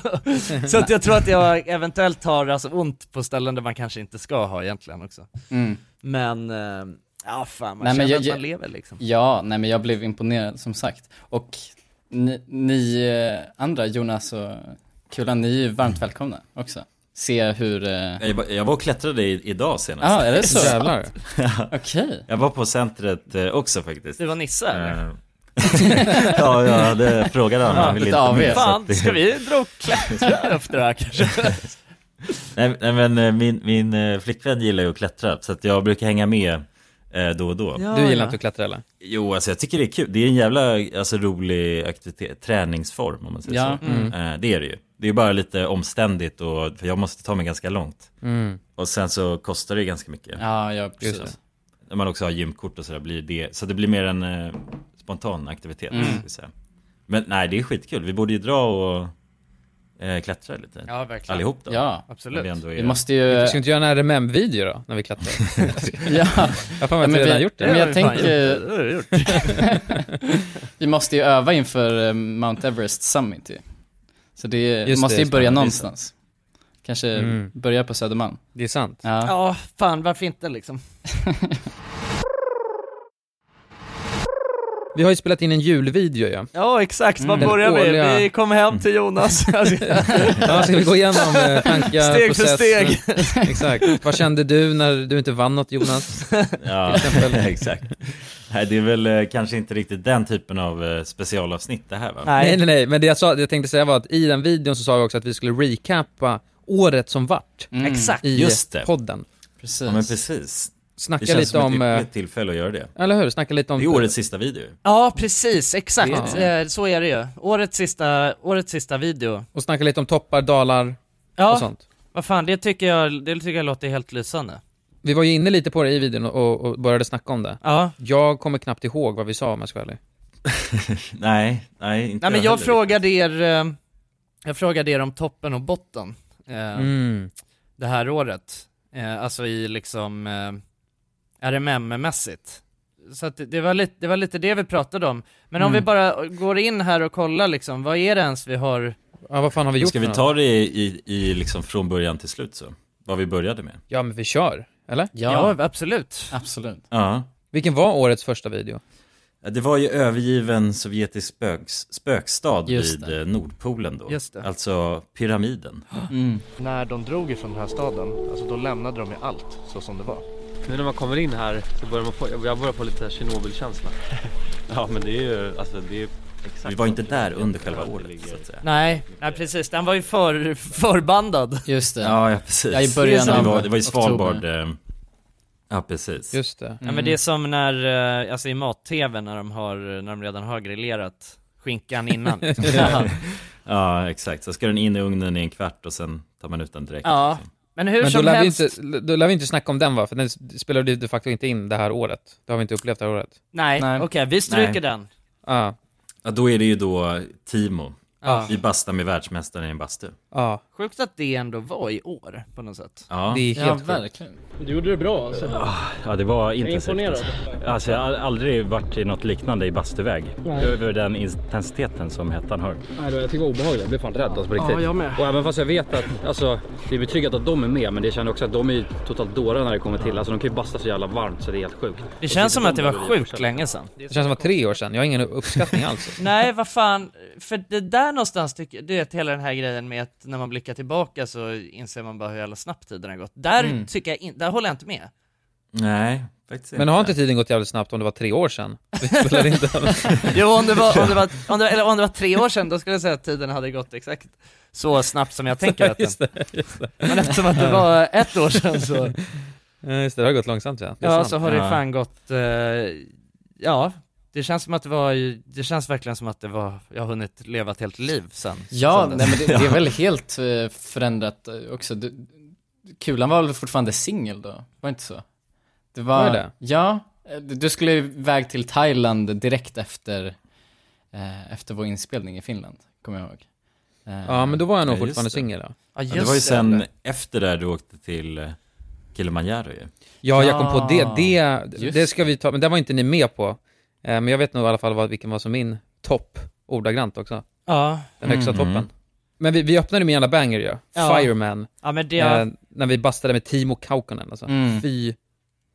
Speaker 3: <laughs>
Speaker 1: så att jag tror att jag eventuellt har alltså ont på ställen där man kanske inte ska ha egentligen också.
Speaker 3: Mm.
Speaker 1: Men, eh, ja fan man
Speaker 3: Nej, men
Speaker 1: känner
Speaker 3: jag-
Speaker 1: att
Speaker 3: jag-
Speaker 1: man lever liksom.
Speaker 3: Ja, nej men jag blev imponerad som sagt. Och ni, ni eh, andra, Jonas och Kulan, ni är ju varmt välkomna också. Se hur... eh,
Speaker 4: Jag, var- jag var och klättrade i, idag senast.
Speaker 3: Ja, är det så?
Speaker 2: Jävlar.
Speaker 3: Okej.
Speaker 4: Jag var på centret eh, också faktiskt.
Speaker 1: Du var Nisse eller?
Speaker 4: Eh, <laughs> ja, jag hade frågat honom. Han ville
Speaker 3: lite
Speaker 4: inte
Speaker 3: AV.
Speaker 4: med, så att
Speaker 1: Fan,
Speaker 4: det-
Speaker 1: ska vi dra och klättra efter det här kanske?
Speaker 4: Nej, nej men eh, min, min eh, flickvän gillar ju att klättra så att jag brukar hänga med eh, då och då.
Speaker 2: Du gillar inte att klättra eller?
Speaker 3: Eh.
Speaker 4: Jo, alltså jag tycker det är kul. Det är en jävla alltså, rolig aktivitet, träningsform om man säger
Speaker 3: Ja. mm.
Speaker 4: så. Eh, det är det ju. Det är bara lite omständigt och, för jag måste ta mig ganska långt.
Speaker 2: Mm.
Speaker 4: Och sen så kostar det ganska mycket.
Speaker 3: Ja, ja
Speaker 2: Just
Speaker 3: precis.
Speaker 4: När man också har gymkort och sådär blir det, så det blir mer en eh, spontan aktivitet.
Speaker 3: Mm.
Speaker 4: Ska vi säga. Men nej, det är skitkul. Vi borde ju dra och eh, klättra lite.
Speaker 1: Ja verkligen.
Speaker 4: Allihop då.
Speaker 3: Ja,
Speaker 4: Om vi
Speaker 1: Absolut.
Speaker 4: ändå är...
Speaker 3: vi måste ju...
Speaker 2: Vi ska inte göra en RMM-video då, när vi klättrar?
Speaker 3: <laughs> Ja,
Speaker 2: Jag har för mig att
Speaker 3: men
Speaker 2: vi redan
Speaker 3: vi-
Speaker 2: gjort
Speaker 1: Det
Speaker 2: det.
Speaker 3: men jag
Speaker 1: har vi fan
Speaker 3: tänker-
Speaker 1: gjort. Det har vi gjort.
Speaker 3: vi måste ju öva inför eh, Mount Everest Summit ju. Så det
Speaker 2: Just
Speaker 3: måste
Speaker 2: det,
Speaker 3: ju börja
Speaker 4: just det.
Speaker 3: någonstans. Kanske
Speaker 2: Mm.
Speaker 3: börja på Södermalm.
Speaker 2: Det är sant.
Speaker 3: Ja.
Speaker 1: Ja, fan varför inte liksom?
Speaker 2: Vi har ju spelat in en julvideo ju.
Speaker 1: Ja exakt, vad
Speaker 2: Den
Speaker 1: börjar
Speaker 2: årliga-
Speaker 1: vi? Vi kom hem till Jonas. Alltså,
Speaker 2: Ja, ska vi gå igenom eh, tankar,
Speaker 1: Steg för
Speaker 2: process,
Speaker 1: steg.
Speaker 2: eh, <laughs> Exakt. Vad kände du när du inte vann något Jonas?
Speaker 4: Ja, <laughs> exakt. Nej, det är väl eh, kanske inte riktigt den typen av eh, specialavsnitt det här va?
Speaker 2: Nej, nej, nej. Men det jag, sa, det jag tänkte säga var att i den videon så sa vi också att vi skulle recappa året som vart
Speaker 3: Mm,
Speaker 1: exakt.
Speaker 2: i
Speaker 4: Just det.
Speaker 2: podden.
Speaker 3: Precis.
Speaker 4: Ja, men precis.
Speaker 2: Snacka
Speaker 4: Det känns
Speaker 2: lite
Speaker 4: som ett
Speaker 2: om... eh,
Speaker 4: ypperligt tillfälle att göra det.
Speaker 2: Eller hur? Snacka lite om...
Speaker 4: Det är årets sista video.
Speaker 1: Ja precis, exakt.
Speaker 2: Ja.
Speaker 1: Eh, Så är det ju. Årets sista, årets sista video.
Speaker 2: Och snacka lite om toppar, dalar och
Speaker 1: Ja,
Speaker 2: sånt.
Speaker 1: vad fan det tycker jag, det tycker jag låter helt lysande.
Speaker 2: Vi var ju inne lite på det i videon och, och började snacka om det.
Speaker 1: Ja.
Speaker 2: Jag kommer knappt ihåg vad vi sa om jag ska vara ärlig.
Speaker 4: Nej, nej, inte
Speaker 1: Nej men jag
Speaker 4: heller.
Speaker 1: frågade er, eh, jag frågade er om toppen och botten eh,
Speaker 2: Mm.
Speaker 1: det här året. Eh, Alltså i liksom eh, RMM-mässigt. Så att det- det var, lite, det var lite det vi pratade om. Men om
Speaker 2: Mm.
Speaker 1: vi bara går in här och kollar liksom, vad är det ens vi har
Speaker 2: Ja, vad fan har vi gjort
Speaker 4: Ska
Speaker 2: för
Speaker 4: vi
Speaker 2: något?
Speaker 4: ta det i, i, i liksom från början till slut så? Vad vi började med?
Speaker 2: Ja, men vi kör. Eller?
Speaker 3: Ja,
Speaker 1: ja absolut.
Speaker 3: absolut.
Speaker 4: Ja.
Speaker 2: Vilken var årets första video?
Speaker 4: Det var ju övergiven sovjetisk spöks, spökstad
Speaker 3: Just
Speaker 4: vid eh, Nordpolen då.
Speaker 1: Just det.
Speaker 4: Alltså pyramiden.
Speaker 3: Mm.
Speaker 8: När de drog ifrån den här staden, alltså då lämnade de ju allt så som det var.
Speaker 9: Nu när man kommer in här så börjar man få, jag börjar få lite Tjernobyl-känsla. Ja men det är ju, alltså det är exakt
Speaker 4: Vi var inte där under själva året så att säga.
Speaker 1: Nej, nej precis, den var ju för, förbandad.
Speaker 3: Just det.
Speaker 4: Ja, ja precis.
Speaker 3: Ja, i början
Speaker 4: Så vi
Speaker 3: av
Speaker 4: var, det var ju
Speaker 3: oktober.
Speaker 4: Svalbard. eh, Ja, precis.
Speaker 2: Just det.
Speaker 1: Ja men det är som när, eh, alltså i mat-tv när de har, när de redan har grillerat skinkan innan. liksom.
Speaker 3: Ja.
Speaker 4: Ja, exakt. Så ska den in i ugnen i en kvart och sen tar man ut den direkt.
Speaker 1: ja, men hur
Speaker 2: Men då
Speaker 1: som
Speaker 2: lär, vi
Speaker 1: helst,
Speaker 2: inte, då lär vi inte snacka om den va? För den spelade ju de facto inte in det här året. Det har vi inte upplevt det här året. Ah.
Speaker 1: nej,
Speaker 3: Nej.
Speaker 1: okej vi stryker
Speaker 4: Nej.
Speaker 1: den.
Speaker 2: Ja,
Speaker 4: Ja, då är det ju då Timo.
Speaker 1: Ja, Ja.
Speaker 4: Vi bastar med världsmästaren i en bastu.
Speaker 2: Ja.
Speaker 1: Sjukt att det ändå var i år på något sätt.
Speaker 4: Ja.
Speaker 2: Det är helt sjukt.
Speaker 10: Du gjorde det bra alltså.
Speaker 4: Ja, det var
Speaker 10: Jag är
Speaker 4: intensivt.
Speaker 10: imponerad.
Speaker 4: Alltså, jag har aldrig varit i något liknande i bastuväg.
Speaker 10: Nej.
Speaker 4: Över den intensiteten som hettan har.
Speaker 10: Nej, det var- jag tycker det var obehagligt. Jag blev fan rädd alltså, på
Speaker 4: Ja,
Speaker 10: riktigt.
Speaker 4: jag med.
Speaker 10: Och även fast jag vet att alltså, det är betryggat att de är med, men det känner också att de är ju totalt dårar när det kommer till. Alltså, de kan ju basta så jävla varmt så det är helt sjukt.
Speaker 1: Det
Speaker 10: Och
Speaker 1: känns
Speaker 10: så
Speaker 1: som
Speaker 10: de
Speaker 1: att det var
Speaker 10: där och
Speaker 1: sjukt
Speaker 10: försöker-
Speaker 1: länge sedan.
Speaker 2: Det känns som att tre år sedan, jag har ingen uppskattning
Speaker 1: <laughs>
Speaker 2: alls.
Speaker 1: Nej, vad fan, för det där någonstans tycker jag, du vet hela den här grejen med att när man blickar tillbaka så inser man bara hur jävla snabbt tiden har gått. Där
Speaker 2: Mm.
Speaker 1: tycker jag in, där håller jag inte med.
Speaker 4: Nej, faktiskt
Speaker 2: Men har inte tiden gått jävligt snabbt om det var tre år sedan? Vi spelar inte.
Speaker 1: <laughs> Jo, om det, var, om, det <laughs> var, om, det var, eller om det var tre år sedan, då skulle jag säga att tiden hade gått exakt så snabbt som jag tänker att den...
Speaker 2: Just det, just det.
Speaker 1: Men eftersom att det var ett år sedan så...
Speaker 2: Ja, just <laughs> det, det har gått långsamt ja. Det är
Speaker 1: Ja,
Speaker 2: sant.
Speaker 1: så har det
Speaker 2: Ja.
Speaker 1: fan gått, eh, ja, det känns som att det var, ju- det känns verkligen som att det var, jag har hunnit leva ett helt liv sen.
Speaker 3: Ja,
Speaker 1: sen
Speaker 3: nej,
Speaker 1: dess.
Speaker 3: men det, det är väl helt eh, förändrat eh, också. Du, kulan var väl fortfarande singel då? Var det inte så? Det var,
Speaker 2: Var det?
Speaker 3: Ja, eh, du du skulle iväg till Thailand direkt efter, eh, efter vår inspelning i Finland, kommer jag ihåg. Eh,
Speaker 2: Ja, men då var jag nog
Speaker 4: Ja, just
Speaker 2: fortfarande
Speaker 4: det.
Speaker 2: singel då.
Speaker 1: Ja,
Speaker 4: Ja, det var ju sen efter där du åkte till eh, Kilimanjaro ju.
Speaker 2: Ja, jag kom på det. Det,
Speaker 4: Just
Speaker 2: det ska vi ta, men det var inte ni med på. Eh, Men jag vet nog i alla fall vad, vilken var som min topp, ordagrant också.
Speaker 1: Ja.
Speaker 2: Den högsta
Speaker 1: Mm.
Speaker 2: toppen. Men vi, vi öppnade med en jävla banger ju,
Speaker 1: Ja.
Speaker 2: Fireman.
Speaker 1: Ja, men det-
Speaker 2: Eh, när vi bastade med Timo Kaukonen alltså.
Speaker 1: Mm.
Speaker 2: Fy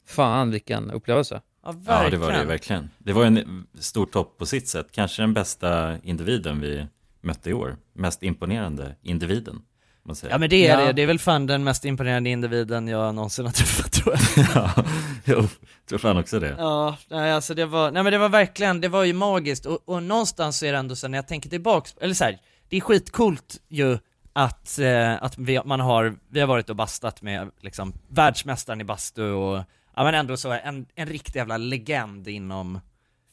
Speaker 2: fan vilken upplevelse.
Speaker 1: Ja,
Speaker 4: Ja, det var det ju verkligen. Det var en stor topp på sitt sätt. Kanske den bästa individen vi mötte i år. Mest imponerande individen. om Man säger.
Speaker 1: Ja men det är det, det är väl fan den mest imponerande individen jag någonsin har träffat tror jag.
Speaker 4: <laughs> ja, jag tror fan också det.
Speaker 1: Ja, nej, alltså det var, nej men det var verkligen, det var ju magiskt och, och någonstans så är det ändå så när jag tänker tillbaks, eller så här, det är skitcoolt ju att, eh, att vi, man har, vi har varit och bastat med liksom världsmästaren i bastu och, ja men ändå så en, en riktig jävla legend inom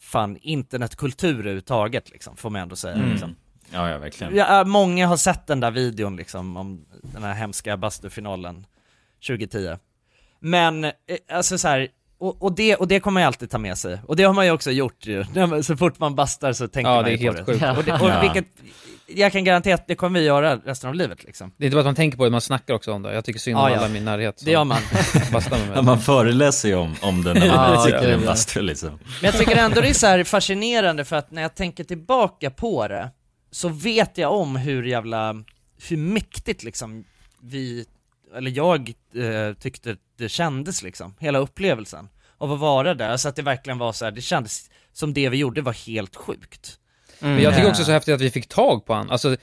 Speaker 1: fan internetkultur överhuvudtaget liksom, får man ändå säga
Speaker 4: Mm.
Speaker 1: liksom.
Speaker 4: Ja, ja, verkligen.
Speaker 1: Ja, äh, många har sett den där videon liksom, om den här hemska bastufinalen 2010. Men, eh, alltså så här, och, och, det, och det kommer man ju alltid ta med sig. Och det har man ju också gjort ju. <laughs> När man- Så fort man bastar så tänker
Speaker 2: Ja,
Speaker 1: man
Speaker 2: det är
Speaker 1: ju på
Speaker 2: helt
Speaker 1: det.
Speaker 2: sjukt.
Speaker 1: Och, det,
Speaker 2: Ja.
Speaker 1: och vilket, jag kan garantera att det kommer vi göra resten av livet liksom.
Speaker 2: Det är inte bara att man tänker på det, man snackar också om det. Jag tycker synd om
Speaker 1: Ja, ja.
Speaker 2: alla i min närhet.
Speaker 1: Det gör man.
Speaker 2: Bastar med mig.
Speaker 4: Ja, man föreläser ju om, om den när man
Speaker 1: Ja,
Speaker 4: sitter i en
Speaker 1: gud, ja.
Speaker 4: bastu liksom.
Speaker 1: Men jag tycker ändå det är så här fascinerande för att när jag tänker tillbaka på det så vet jag om hur jävla, hur mäktigt liksom vi, eller jag eh, tyckte det kändes liksom, hela upplevelsen av att vara där. Så att det verkligen var så här, det kändes som det vi gjorde var helt sjukt.
Speaker 2: Men jag tycker också så häftigt att vi fick tag på han. Alltså,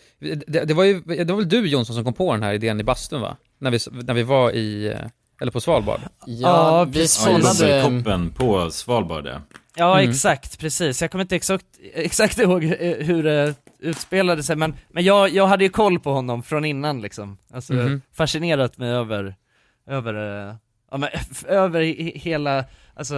Speaker 2: det, det, var ju, det var väl du Jonsson som kom på den här idén i bastun va? När vi, när vi var i, eh, eller på Svalbard?
Speaker 3: Ja, vi sållade-
Speaker 4: Bubbelkoppen på Svalbard ja.
Speaker 1: Ja
Speaker 2: Mm.
Speaker 1: exakt, precis. Jag kommer inte exakt, exakt ihåg eh, hur det utspelade sig men, men jag, jag hade ju koll på honom från innan liksom. Alltså
Speaker 2: Mhm.
Speaker 1: fascinerat mig över, över, eh, ja, men, över he- hela, alltså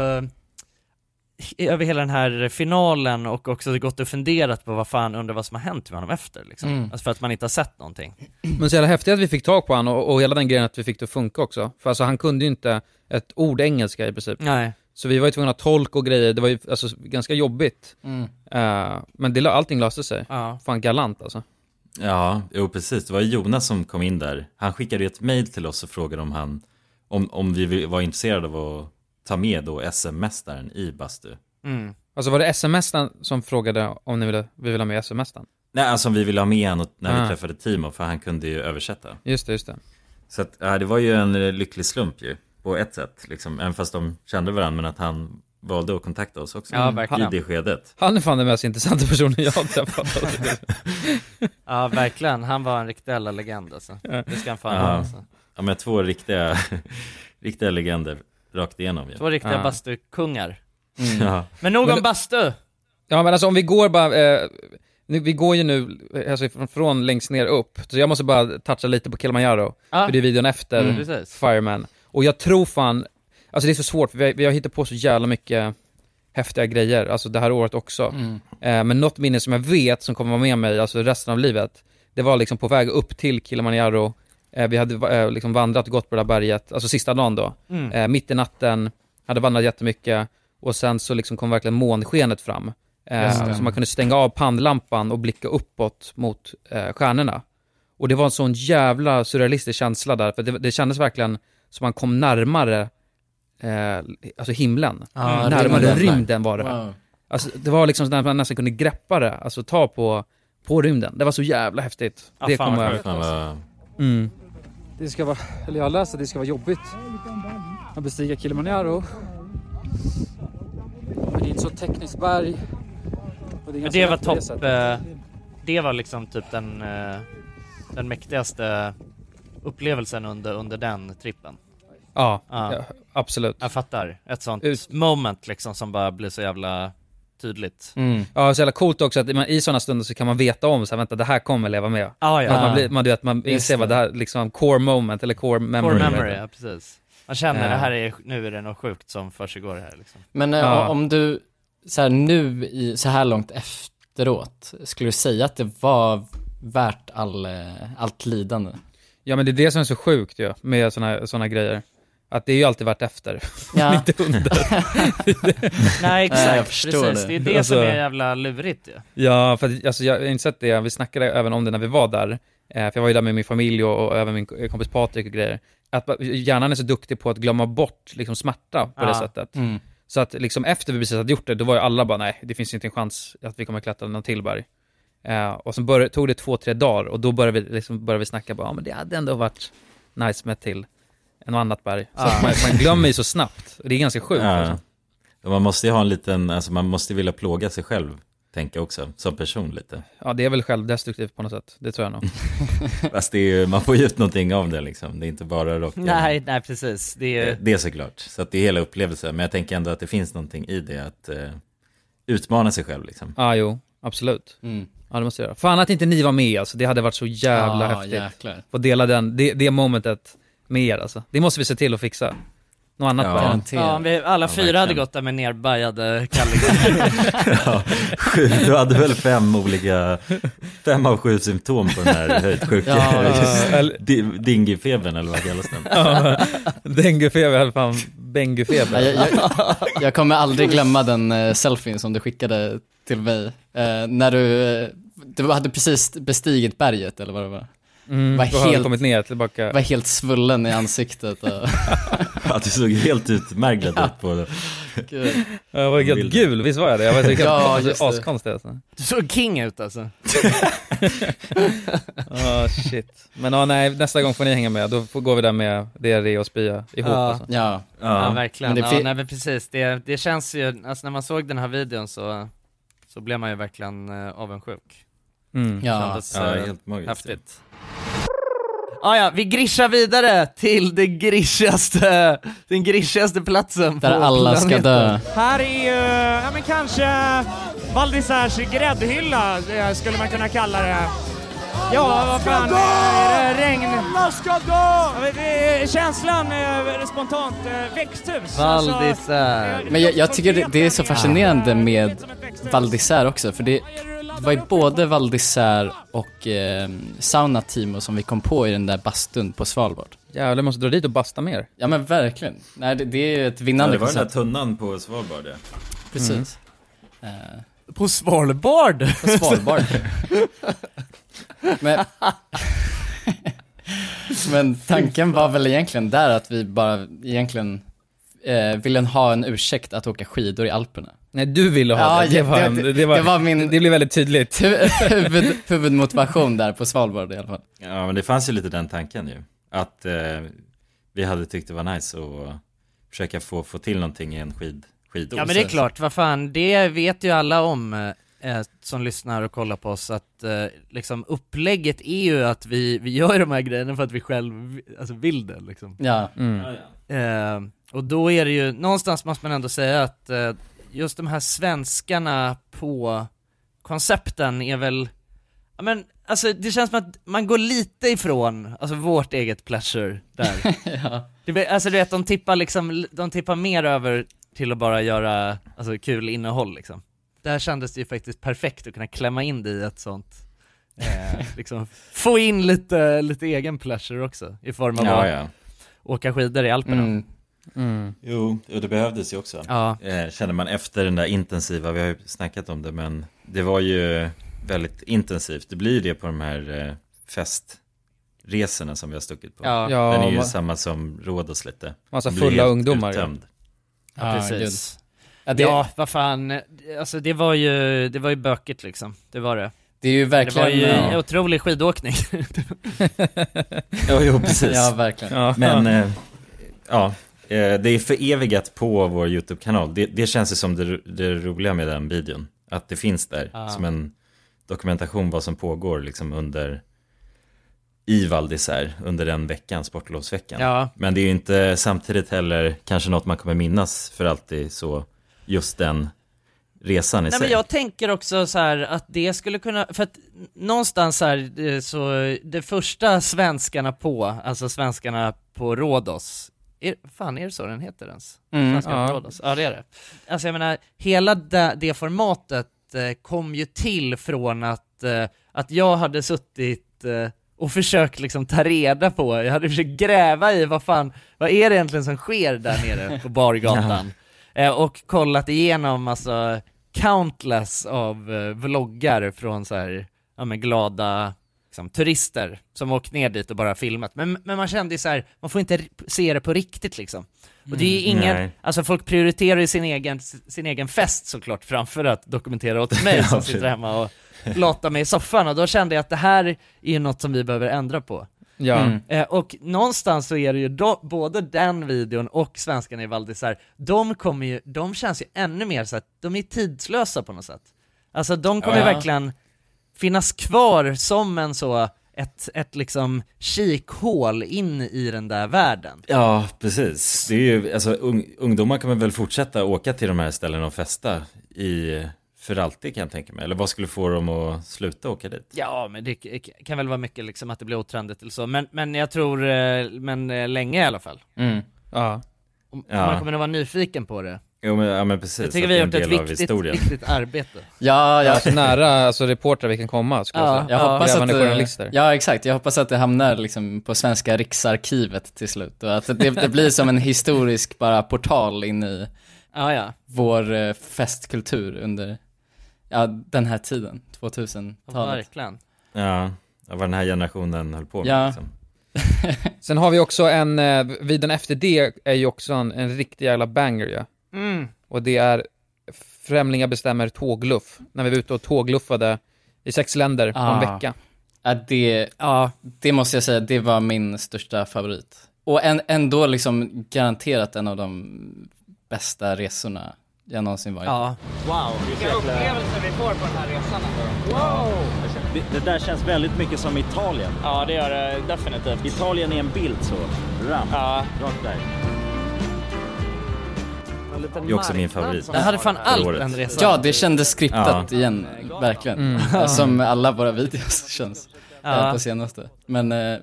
Speaker 1: he- över hela den här finalen och också gått och funderat på vad fan, undrar vad som har hänt med honom efter liksom.
Speaker 2: Mm.
Speaker 1: Alltså för att man inte har sett någonting.
Speaker 2: Men så jävla häftigt att vi fick tag på han och, och hela den grejen att vi fick det att funka också. För alltså han kunde ju inte ett ord engelska i princip.
Speaker 1: Nej.
Speaker 2: Så vi var ju tvungna att tolka och grejer, det var ju alltså ganska jobbigt.
Speaker 3: Mm.
Speaker 2: Eh, men det, la- allting löste sig.
Speaker 1: Ja.
Speaker 2: Fan galant alltså.
Speaker 4: Ja, jo precis. Det var ju Jonas som kom in där. Han skickade ju ett mejl till oss och frågade om han om, om vi vill- var intresserade av att ta med då SM-mästaren i bastu.
Speaker 1: Mm.
Speaker 2: Alltså var det SMS-en som frågade om ni ville, vi ville ha med SMS-en?
Speaker 4: Nej, alltså om vi ville ha med honom när
Speaker 2: Ah.
Speaker 4: vi träffade Timo, för han kunde ju översätta.
Speaker 2: Just det, just det.
Speaker 4: Så att, ja, det var ju en eh, lycklig slump ju, på ett sätt. Liksom. Även fast de kände varandra, men att han valde att kontakta oss också.
Speaker 2: Ja, verkligen.
Speaker 4: I det skedet.
Speaker 2: Han är fan den mest intressanta personen jag har träffat.
Speaker 1: Ja verkligen, han var en riktig jävla legend alltså. Det ska han fan ha
Speaker 4: Ja,
Speaker 1: alltså.
Speaker 4: ja men två
Speaker 11: <laughs>
Speaker 4: riktiga, riktiga legender rakt igenom ju.
Speaker 1: Två riktiga
Speaker 4: Ja.
Speaker 1: bastukungar.
Speaker 2: Mm.
Speaker 4: Ja.
Speaker 1: Men nog om
Speaker 2: Men-
Speaker 1: bastu!
Speaker 2: Ja men alltså om vi går bara, eh, nu- vi går ju nu eh, alltså, från, från längst ner upp, så jag måste bara toucha lite på Kilimanjaro,
Speaker 1: Ja.
Speaker 2: för det är videon efter
Speaker 1: Mm. Precis.
Speaker 2: Fireman. Och jag tror fan, alltså det är så svårt, för vi har, vi har hittat på så jävla mycket häftiga grejer, alltså det här året också.
Speaker 3: Mm.
Speaker 2: Eh, men något minne som jag vet som kommer vara med mig, alltså resten av livet, det var liksom på väg upp till Kilimanjaro, eh, vi hade eh, liksom vandrat och gått på det där berget, alltså sista dagen då,
Speaker 1: Mm.
Speaker 2: eh, mitt i natten, hade vandrat jättemycket, och sen så liksom kom verkligen månskenet fram. Eh,
Speaker 10: Just det.
Speaker 2: så man kunde stänga av pannlampan och blicka uppåt mot eh, stjärnorna. Och det var en sån jävla surrealistisk känsla där, för det, det kändes verkligen som man kom närmare eh, alltså himlen.
Speaker 10: Ja,
Speaker 2: närmare
Speaker 10: rymden.
Speaker 2: rymden, var det.
Speaker 10: Wow.
Speaker 2: Alltså, det var liksom så att man nästan kunde greppa det, alltså ta på, på rymden. Det var så jävla häftigt.
Speaker 4: Ah,
Speaker 12: Ja,
Speaker 2: det
Speaker 12: fan
Speaker 2: kommer
Speaker 12: vad
Speaker 2: jag
Speaker 12: sjukt alltså.
Speaker 2: Mm.
Speaker 12: Det ska vara, eller jag har läst att det ska vara jobbigt att bestiga Kilimanjaro. Men det är ett så tekniskt berg. och
Speaker 1: Men
Speaker 12: ganska
Speaker 1: Alltså, det var
Speaker 12: lätt på det
Speaker 1: topp,
Speaker 12: sättet.
Speaker 1: eh, det var liksom typ den, eh, den mäktigaste upplevelsen under, under den trippen.
Speaker 2: Ja, ja, absolut.
Speaker 1: Jag fattar. Ett sånt moment liksom som bara blir så jävla tydligt.
Speaker 2: Ja, så jävla coolt också att man, i sådana stunder så kan man veta om så här, vänta det här kommer jag leva med.
Speaker 1: Ja, Ah, ja.
Speaker 2: Att man, blir, man, du vet, man
Speaker 1: Just
Speaker 2: inser vad
Speaker 1: det.
Speaker 2: det här, liksom core moment eller core memory.
Speaker 1: Ah. Core memory,
Speaker 2: heter det.
Speaker 1: ja precis. Man känner det här
Speaker 2: Eh,
Speaker 1: är, nu är det något sjukt som försiggår här liksom.
Speaker 3: Men eh,
Speaker 1: Ja.
Speaker 3: om du så här, nu i, så här långt efteråt, skulle du säga att det var värt all, eh, allt lidande?
Speaker 2: Ja, men det är det som är så sjukt ju med sådana här, såna grejer. Att det är ju alltid
Speaker 1: <laughs>
Speaker 2: varit efter,
Speaker 3: Ja.
Speaker 2: <laughs> men inte under.
Speaker 1: <laughs> Nej exakt, precis. Det. är det som är jävla lurigt ju.
Speaker 2: Ja, för att, alltså, jag har insett det, vi snackade även om det när vi var där, eh, för jag var ju där med min familj och, och även min k- kompis Patrik och grejer, att ba- hjärnan är så duktig på att glömma bort liksom, smärta på
Speaker 10: Ja.
Speaker 2: det sättet.
Speaker 10: Mm.
Speaker 2: Så att liksom, efter vi precis hade gjort det, då var ju alla bara nej, det finns inte en chans att vi kommer klättra någon till berg. Eh, och sen började, tog det två, tre dagar och då började vi, liksom, började vi snacka bara, ja men det hade ändå varit nice med ett till, en annat berg. Så
Speaker 10: Ja.
Speaker 2: att man, man glömmer ju så snabbt, och det är ganska sjukt.
Speaker 4: Ah.
Speaker 12: Ja.
Speaker 2: Alltså.
Speaker 11: Och Man måste ju ha en liten, alltså man måste vilja plåga sig själv, tänker jag också, som person
Speaker 2: <laughs>
Speaker 11: lite.
Speaker 2: ja, det är väl självdestruktivt på något sätt, det tror jag nog.
Speaker 11: Fast det är ju, man får ju ut någonting av det liksom, det är inte bara rakt igenom.
Speaker 1: Nej, nej precis. Det är ju...
Speaker 11: Eh, Det är såklart, så att det är hela upplevelsen, men jag tänker ändå att det finns någonting i det, att eh, utmana sig själv
Speaker 2: <laughs>
Speaker 11: liksom. <laughs>
Speaker 2: Ja, Ah, jo, absolut. Ja, det måste jag göra. Fan att inte ni var med alltså, det hade varit så jävla
Speaker 3: Ah, Ja,
Speaker 2: häftigt.
Speaker 3: jäklar.
Speaker 2: Få dela den, det, det momentet med er alltså. Det måste vi se till att fixa. Något annat bara.
Speaker 1: Ja, om vi alla fyra hade gått där med nerbajade kallingar.
Speaker 11: Ja, sju, du hade väl fem olika, fem av sju symptom på den
Speaker 2: <laughs>
Speaker 11: här höjdsjuka,
Speaker 2: Ja,
Speaker 11: <laughs> Di- dingifebern eller vad kallas den?
Speaker 2: Ja, Denguefeber, eller fan bengufeber.
Speaker 3: Ja, jag, jag, jag kommer aldrig glömma den eh, selfien som du skickade till mig. Eh, när du, eh, du hade precis bestigit berget eller vad det var.
Speaker 2: Mm,
Speaker 3: var
Speaker 2: då hade jag kommit ner tillbaka.
Speaker 3: Var helt svullen i
Speaker 2: <laughs>
Speaker 3: ansiktet. Och...
Speaker 11: <laughs> Att du såg helt utmärglad ut på
Speaker 1: <laughs>
Speaker 11: det.
Speaker 3: Gud.
Speaker 2: Jag var helt gul, visst var jag det? Jag var så helt,
Speaker 3: Ja, just
Speaker 2: alltså,
Speaker 3: det.
Speaker 2: askonstig alltså.
Speaker 1: Du såg king ut alltså.
Speaker 2: Ah shit. Men ja, nej, nästa gång får ni hänga med. Då får, går vi där med diarré och spya ihop
Speaker 1: ja.
Speaker 2: alltså.
Speaker 1: Ja. ja, verkligen.
Speaker 2: Men det
Speaker 1: ja,
Speaker 2: fin-
Speaker 1: nej, men precis. Det, det känns ju, alltså när man såg den här videon så, så blev man ju verkligen eh, avundsjuk.
Speaker 2: Mm.
Speaker 1: Det kändes,
Speaker 11: Ja,
Speaker 1: eh,
Speaker 11: helt magiskt.
Speaker 1: Häftigt. Ah, ja, vi grischar vidare till det grischaste, den grischaste platsen
Speaker 3: Där
Speaker 1: på
Speaker 3: alla ska
Speaker 1: planeten.
Speaker 3: dö.
Speaker 13: Här är ju, ja men kanske Val d'Isères gräddhylla eh, skulle man kunna kalla det. Ja, vad fan, är det regn? Alla ska dö! Känslan eh, spontant, eh, växthus.
Speaker 1: Val
Speaker 13: Alltså,
Speaker 1: d'Isère.
Speaker 3: Men jag, jag tycker det, det är så fascinerande med Val d'Isère också, för det, det var ju både Val d'Isère och eh, Sauna Timo som vi kom på i den där bastun på Svalbard.
Speaker 2: Jävlar, måste dra dit och basta mer.
Speaker 3: Ja men verkligen. Nej, det, det är ju ett
Speaker 11: Ja,
Speaker 3: vinnande
Speaker 11: det var den där
Speaker 3: koncept.
Speaker 11: tunnan på Svalbard ja.
Speaker 3: Precis.
Speaker 1: På Svalbard?
Speaker 3: På
Speaker 11: Mm. <laughs>
Speaker 3: Svalbard. men, men tanken var väl egentligen där att vi bara egentligen eh, ville ha en ursäkt att åka skidor i Alperna.
Speaker 2: Nej, du ville ha det. Det var en- det var-
Speaker 3: min...
Speaker 2: Det blev väldigt tydligt.
Speaker 3: <laughs> Huvud, huvudmotivation där på Svalbard i alla fall.
Speaker 11: Ja, men det fanns ju lite den tanken ju. Att eh, vi hade tyckt det var nice att försöka få, få till någonting i en skid, skidår.
Speaker 1: Ja men det är klart, vad fan, det vet ju alla om eh, som lyssnar och kollar på oss att eh, liksom upplägget är ju att vi, vi gör de här grejerna för att vi själv vi- alltså, vill det liksom.
Speaker 3: Ja. Mm.
Speaker 1: Eh, och då är det ju, någonstans måste man ändå säga att eh, just de här svenskarna på koncepten är väl, ja men alltså det känns som att man går lite ifrån, alltså vårt eget pleasure där.
Speaker 3: Ja.
Speaker 1: det, blir- alltså du vet, de tippar liksom, de tippar mer över till att bara göra, alltså kul innehåll liksom. Där kändes det ju faktiskt perfekt att kunna klämma in det i ett sånt, eh, liksom få in lite, lite egen pleasure också i form av
Speaker 11: Ja,
Speaker 1: att
Speaker 11: ja.
Speaker 1: åka skidor i Alperna.
Speaker 3: Mm.
Speaker 2: Mm.
Speaker 4: Jo, och det behövdes ju också.
Speaker 2: Ja.
Speaker 4: Eh, känner man efter den där intensiva, vi har ju snackat om det, men det var ju väldigt intensivt. Det blir ju det på de här eh, festresorna som vi har stuckit på.
Speaker 2: Ja. Ja,
Speaker 4: Den är ju
Speaker 2: man-
Speaker 4: samma som Rhodos lite.
Speaker 2: Massa
Speaker 4: Den
Speaker 1: Alltså
Speaker 4: blir
Speaker 2: fulla
Speaker 4: helt
Speaker 2: ungdomar, ja.
Speaker 4: Uttömd.
Speaker 1: Ja,
Speaker 2: Ah,
Speaker 1: precis.
Speaker 3: Ja,
Speaker 1: Ja,
Speaker 3: det-
Speaker 1: vad fan, alltså det var ju, det var ju bökigt liksom, det var det.
Speaker 3: Det är ju verkligen-
Speaker 1: Det var ju en
Speaker 3: ja.
Speaker 1: otrolig skidåkning. <laughs>
Speaker 4: Jo, jo precis.
Speaker 3: Ja, verkligen.
Speaker 1: Ja.
Speaker 4: Men, eh, ja, eh, det är förevigat på vår YouTube-kanal. Det, det känns ju som det, det roliga med den videon. Att det finns där
Speaker 1: Ja.
Speaker 4: som en dokumentation vad som pågår liksom under i Val d'Isère under den veckan, sportlovsveckan.
Speaker 1: Ja.
Speaker 4: Men det är ju inte samtidigt heller kanske något man kommer minnas för alltid så just den resan i
Speaker 1: Nej,
Speaker 4: sig.
Speaker 1: men jag tänker också så här att det skulle kunna, för att någonstans så här, eh, så det första svenskarna på, alltså svenskarna på Rhodos, är, fan är det så den heter ens?
Speaker 14: Mm,
Speaker 1: svenskarna
Speaker 14: ja.
Speaker 1: på Rhodos, ja det är det. Alltså jag menar, hela det, det formatet eh, kom ju till från att, eh, att jag hade suttit eh, och försökt liksom ta reda på, jag hade försökt gräva i vad fan, vad är det egentligen som sker där nere på bargatan? Eh, och kollat igenom alltså countless av eh, vloggar från så här, ja men glada liksom, turister som åkt ner dit och bara filmat. Men, men man kände ju så här, man får inte r- se det på riktigt liksom. Och det är ju
Speaker 14: Mm.
Speaker 1: ingen,
Speaker 14: Nej.
Speaker 1: alltså folk prioriterar ju sin egen, sin egen fest såklart framför att dokumentera åt
Speaker 14: <laughs>
Speaker 1: mig
Speaker 14: Ja,
Speaker 1: som
Speaker 14: precis.
Speaker 1: sitter hemma och lata mig i soffan och då kände jag att det här är ju något som vi behöver ändra på.
Speaker 2: Ja. Mm.
Speaker 1: Eh, och någonstans så är det ju då, både den videon och svenskarna i Val d'Isère, de kommer ju, de känns ju ännu mer så att de är tidslösa på något sätt. Alltså de kommer
Speaker 14: Ja.
Speaker 1: verkligen finnas kvar som en så, ett, ett liksom kikhål in i den där världen.
Speaker 4: Ja, precis. Det är ju, alltså, ung, ungdomar kommer väl fortsätta åka till de här ställena och festa i, för alltid kan jag tänka mig. Eller vad skulle få dem att sluta åka dit?
Speaker 1: Ja, men det k- k- kan väl vara mycket liksom att det blir otrendigt eller så, men, men jag tror, eh, men eh, länge i alla fall.
Speaker 4: Mm.
Speaker 2: Ja.
Speaker 1: Om, om
Speaker 4: Ja.
Speaker 1: man kommer att vara nyfiken på det.
Speaker 4: Jo, men, ja, men precis.
Speaker 1: Jag tycker
Speaker 4: att
Speaker 1: vi
Speaker 4: det är
Speaker 1: har gjort ett
Speaker 4: en del av
Speaker 1: viktigt,
Speaker 4: historien.
Speaker 1: viktigt arbete.
Speaker 3: Ja, ja.
Speaker 2: Så nära alltså, reportrar vi kan komma, skulle jag
Speaker 3: Ja,
Speaker 2: säga.
Speaker 3: jag hoppas att,
Speaker 2: Grävande
Speaker 3: det-
Speaker 2: journalister.
Speaker 3: ja, exakt. Jag hoppas att det hamnar liksom på Svenska riksarkivet till slut och att det, det blir som en historisk bara portal in i
Speaker 1: Ja, ja.
Speaker 3: vår eh, festkultur under ja, den här tiden,
Speaker 1: Ja,
Speaker 3: 2000-talet.
Speaker 1: verkligen.
Speaker 4: Ja, av vad den här generationen höll på med.
Speaker 3: Ja.
Speaker 4: Liksom.
Speaker 2: Sen har vi också en, eh, videon efter det är ju också en, en riktig jävla banger ja.
Speaker 14: Mm.
Speaker 2: Och det är Främlingar bestämmer tågluff. När vi var ute och tågluffade i sex länder på en
Speaker 3: Ah.
Speaker 2: vecka.
Speaker 3: Ja, det, det måste jag säga, det var min största favorit. Och en, ändå liksom garanterat en av de bästa resorna jag någonsin varit på.
Speaker 1: Ja.
Speaker 15: Wow,
Speaker 16: Vilka upplevelser vi får på den här resan ändå.
Speaker 15: Det, det där känns väldigt mycket som Italien. Ja, det gör det definitivt. Italien är en bild så. Ram. Ja. Rakt där.
Speaker 4: Det är också min favorit.
Speaker 3: Jag hade
Speaker 1: fan
Speaker 4: för
Speaker 1: allt
Speaker 4: året.
Speaker 1: den resan.
Speaker 3: Ja, det kändes skriptat
Speaker 4: Ja.
Speaker 3: igen, verkligen. <laughs>
Speaker 1: Mm.
Speaker 3: Som alla våra videos <laughs> känns
Speaker 1: Ja.
Speaker 3: eh, på senaste. Men eh,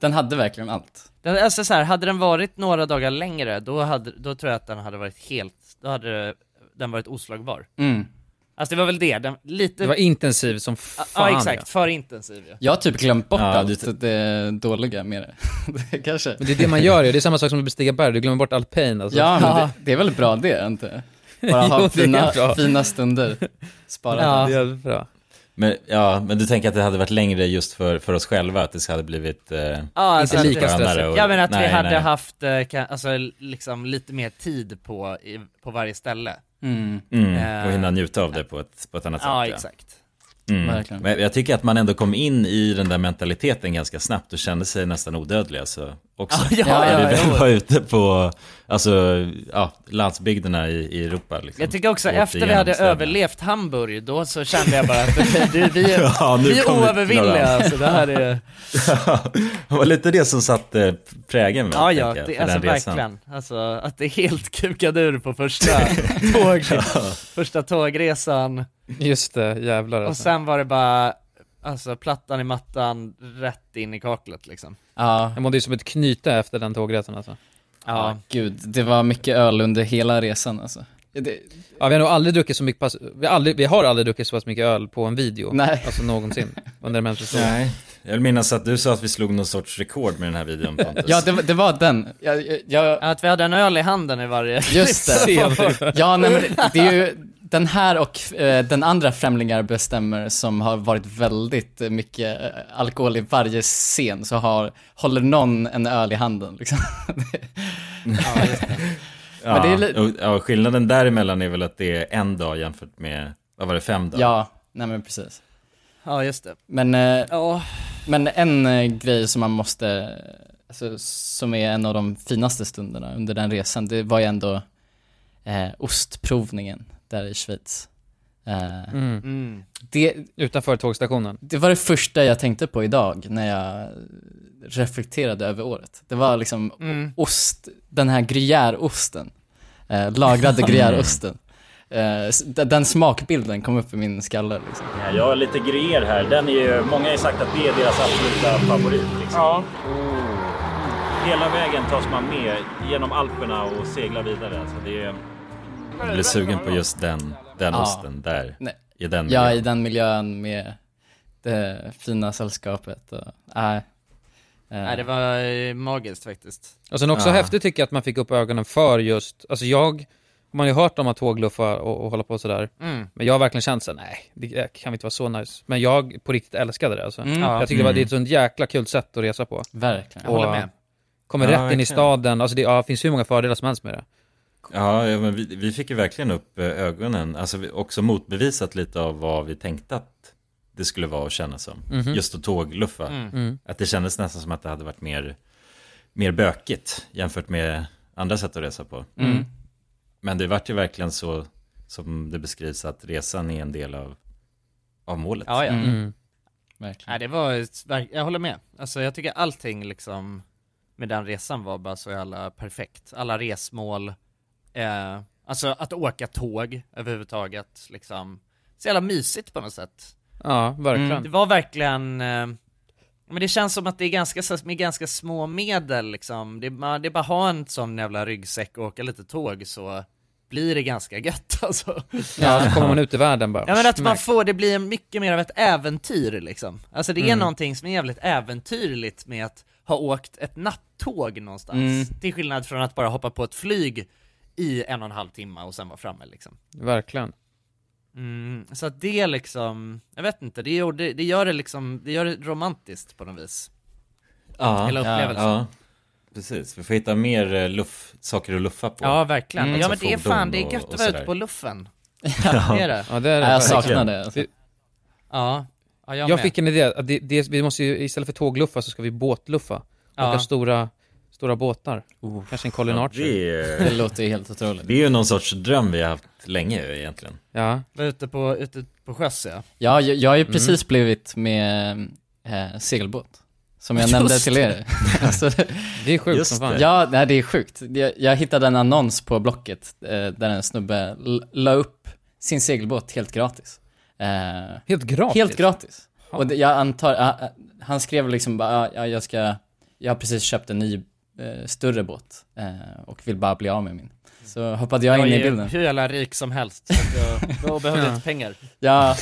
Speaker 3: den hade verkligen allt.
Speaker 1: Den, alltså så här, hade den varit några dagar längre, då, hade, då tror jag att den hade varit helt, då hade den varit oslagbar.
Speaker 3: Mm.
Speaker 1: Alltså det var väl det, den, lite...
Speaker 2: Det var intensiv som
Speaker 1: Ja,
Speaker 2: fan
Speaker 1: Ja, exakt, för intensiv ja.
Speaker 3: Jag har typ glömt bort
Speaker 2: Ja,
Speaker 3: allt det dåliga med det. <laughs> det kanske.
Speaker 2: Men det är det man gör ju, det är samma sak som att bestiga berg, du glömmer bort all pain alltså.
Speaker 3: Ja, men det, det är väl bra
Speaker 2: <laughs>
Speaker 3: det, inte? Bara
Speaker 2: Jo, det
Speaker 3: ha
Speaker 2: är
Speaker 3: fina,
Speaker 2: bra.
Speaker 3: fina stunder sparade.
Speaker 2: Ja, det är bra.
Speaker 4: Men, ja, men du tänker att det hade varit längre just för, för oss själva, att det hade blivit... Eh,
Speaker 1: Ja, alltså att det-
Speaker 4: skönare och-
Speaker 1: Ja men att vi
Speaker 4: nej,
Speaker 1: hade
Speaker 4: nej.
Speaker 1: haft eh, ka- alltså, liksom lite mer tid på, i, på varje ställe.
Speaker 3: Mm.
Speaker 4: Mm, och
Speaker 1: Eh,
Speaker 4: hinna njuta av det på ett, på ett annat
Speaker 1: Ja,
Speaker 4: sätt.
Speaker 1: exakt.
Speaker 4: Mm.
Speaker 1: Verkligen.
Speaker 4: Men jag tycker att man ändå kom in i den där mentaliteten ganska snabbt och kände sig nästan odödlig alltså, också.
Speaker 1: <laughs> Ja, ja,
Speaker 4: När
Speaker 1: ja,
Speaker 4: vi väl
Speaker 1: ja.
Speaker 4: var ute på alltså, ja, landsbygderna i, i Europa. Liksom. <laughs>
Speaker 1: Jag tycker också
Speaker 4: Åt
Speaker 1: efter vi
Speaker 4: igenom
Speaker 1: hade
Speaker 4: städerna.
Speaker 1: överlevt Hamburg, då så kände jag bara att du, vi är,
Speaker 4: <laughs> Ja, nu
Speaker 1: vi är
Speaker 4: kom vi till
Speaker 1: oövervinnliga
Speaker 4: några. <laughs>
Speaker 1: alltså, det här är...
Speaker 4: det var lite det som satte prägen
Speaker 1: Ja, ja,
Speaker 4: tänker jag,
Speaker 1: det,
Speaker 4: för
Speaker 1: alltså
Speaker 4: den resan.
Speaker 1: verkligen. Alltså att det är helt kukade ur på
Speaker 4: <laughs>
Speaker 1: första, tåg, första tågresan.
Speaker 2: Just det, jävlar
Speaker 1: Och
Speaker 2: alltså.
Speaker 1: sen var det bara, alltså plattan i mattan, rätt in i kaklet liksom.
Speaker 3: Ja.
Speaker 2: Jag mådde ju som ett knyte efter den tågresan alltså.
Speaker 1: Ja.
Speaker 3: Gud, det var mycket öl under hela resan alltså. Det,
Speaker 2: Ja, vi har nog aldrig druckit så mycket, pass, vi, har aldrig, vi har aldrig druckit så pass mycket öl på en video.
Speaker 3: Nej.
Speaker 1: <laughs>
Speaker 2: Alltså någonsin. Under en mänsklig historia.
Speaker 4: Nej, Jag minns att du sa att vi slog någon sorts rekord med den
Speaker 1: <laughs>
Speaker 4: här videon Pontus.
Speaker 3: Ja, det, var- det var den. Jag, jag,
Speaker 1: Att vi hade en öl i handen i varje
Speaker 3: Just det.
Speaker 1: ja,
Speaker 3: ja, nej, men det, det är ju den här och eh, den andra Främlingar bestämmer som har varit väldigt eh, mycket eh, alkohol i varje scen, så har, håller någon en öl i handen liksom. ja, just det.
Speaker 4: Ja,
Speaker 3: Men det är li-
Speaker 4: och, ja, skillnaden däremellan är väl att det är en dag jämfört med, vad var det, fem dagar?
Speaker 3: ja, nej men precis.
Speaker 1: ja just det.
Speaker 3: Men, eh,
Speaker 1: Ja.
Speaker 3: men en eh, grej som man måste, alltså, som är en av de finaste stunderna under den resan, det var ju ändå eh, ostprovningen där i Schweiz. Eh,
Speaker 2: Mm.
Speaker 3: Det,
Speaker 2: Utanför tågstationen.
Speaker 3: det var det första jag tänkte på idag när jag reflekterade över året. Det var liksom
Speaker 17: Mm.
Speaker 3: ost, den här gruyèreosten, eh,
Speaker 1: <laughs>
Speaker 3: lagrade gruyèreosten. Eh, s- d- den smakbilden kom upp i min skalle liksom.
Speaker 1: Mm.
Speaker 15: Ja, jag har lite gruyère här. Den är ju, många har ju sagt att det är deras absoluta favorit. Liksom. Ja. Hela vägen tas man med genom Alperna och seglar vidare. Alltså, det är...
Speaker 4: Jag blev sugen på just den, den
Speaker 3: Ja.
Speaker 4: osten där.
Speaker 3: Nej.
Speaker 4: I den
Speaker 3: ja,
Speaker 4: miljön.
Speaker 3: i den miljön med det fina sällskapet och, nej. Eh,
Speaker 1: Nej, det var eh, magiskt faktiskt.
Speaker 2: Och sen också
Speaker 1: Ja.
Speaker 2: häftigt tycker jag att man fick upp ögonen för just, alltså jag, man har ju hört om att tågluffar och, och hålla på sådär.
Speaker 1: Mm.
Speaker 2: Men jag har verkligen känt så här, nej, det det kan inte vara så nice. Men jag på riktigt älskade det alltså.
Speaker 1: Mm.
Speaker 2: Jag
Speaker 1: Ja.
Speaker 2: tycker det var det är
Speaker 1: Mm.
Speaker 2: ett sånt jäkla kul sätt att resa på.
Speaker 3: Verkligen.
Speaker 1: Jag håller med.
Speaker 2: Kommer
Speaker 4: Ja,
Speaker 2: rätt in i
Speaker 4: verkligen.
Speaker 2: staden, alltså det ja, finns hur många fördelar som helst med det.
Speaker 4: Ja, ja, men vi, vi fick ju verkligen upp eh, ögonen, alltså vi också motbevisat lite av vad vi tänkte att det skulle vara att kännas som.
Speaker 2: Mhm.
Speaker 4: Just att tågluffa.
Speaker 2: Mm. Mm.
Speaker 4: Att det kändes nästan som att det hade varit mer, mer bökigt jämfört med andra sätt att resa på.
Speaker 3: Mm.
Speaker 4: Men det vart ju verkligen så som det beskrivs att resan är en del av, av målet.
Speaker 1: Ja, ja.
Speaker 2: Mm.
Speaker 3: Verkligen.
Speaker 1: Nej, det var, ett verk- jag håller med. Alltså jag tycker allting liksom med den resan var bara så jävla perfekt. Alla resmål, eh, alltså att åka tåg överhuvudtaget liksom. Så jävla mysigt på något sätt.
Speaker 2: Ja, verkligen.
Speaker 1: Det var verkligen, eh, men det känns som att det är ganska, så- med ganska små medel liksom. Det, man, det är bara att ha en sån jävla ryggsäck och åka lite tåg så blir det ganska gött <laughs> alltså.
Speaker 2: Ja, så kommer man ut i världen bara.
Speaker 1: Ja men att man
Speaker 2: smack.
Speaker 1: får, det blir mycket mer av ett äventyr liksom. Alltså det är
Speaker 2: Mm.
Speaker 1: någonting som är jävligt äventyrligt med att ha åkt ett nattåg någonstans.
Speaker 2: Mm.
Speaker 1: Till skillnad från att bara hoppa på ett flyg i en och en halv timme och sen vara framme liksom.
Speaker 2: Verkligen.
Speaker 1: Mm, så att det liksom, jag vet inte, det gör det, det, gör det liksom, det gör det romantiskt på något vis. Hela upplevelsen.
Speaker 4: Ja, precis. Vi får hitta mer eh, luff, saker att luffa på.
Speaker 1: Ja, verkligen.
Speaker 4: Alltså
Speaker 1: Mm. Ja men det är
Speaker 4: fordon
Speaker 1: fan, det är
Speaker 4: och-
Speaker 1: gött
Speaker 4: och
Speaker 1: att vara ute
Speaker 4: sådär.
Speaker 1: på luffen. Det är det.
Speaker 2: Ja, det är det.
Speaker 3: Nej, jag
Speaker 2: verkligen.
Speaker 3: saknar det, alltså.
Speaker 2: Vi-
Speaker 1: Ja, ja jag,
Speaker 2: Jag,
Speaker 1: med.
Speaker 2: fick en idé, att det, det, vi måste ju, istället för tågluffa så ska vi båtluffa. Åka
Speaker 1: Ja.
Speaker 2: stora, stora båtar. Kanske en Colin Archer.
Speaker 4: är- Det är ju någon sorts dröm vi har haft länge egentligen.
Speaker 2: Ja.
Speaker 1: Var ute på, ute på sjöss ja.
Speaker 3: Ja, jag, jag har ju
Speaker 1: Mm.
Speaker 3: precis blivit med eh, segelbåt. Som
Speaker 1: <laughs>
Speaker 3: jag
Speaker 1: Just
Speaker 3: nämnde till
Speaker 1: det.
Speaker 3: er. <laughs> Alltså,
Speaker 2: Det är sjukt Just som fan. det.
Speaker 3: Ja, nej, det är sjukt. Jag, jag hittade en annons på Blocket eh, där en snubbe l- la upp sin segelbåt helt gratis. Eh,
Speaker 2: helt gratis?
Speaker 3: Helt gratis. Och det, jag antar, ah, ah, han skrev liksom bara, ah, ja, jag ska, jag har precis köpt en ny eh, större båt eh, och vill bara bli av med min. Så hoppade jag, in
Speaker 1: är
Speaker 3: i
Speaker 1: ju
Speaker 3: bilden.
Speaker 1: hur jävla rik som helst, så att jag, då behövde jag
Speaker 3: Ja.
Speaker 1: inte pengar.
Speaker 3: <laughs> Ja,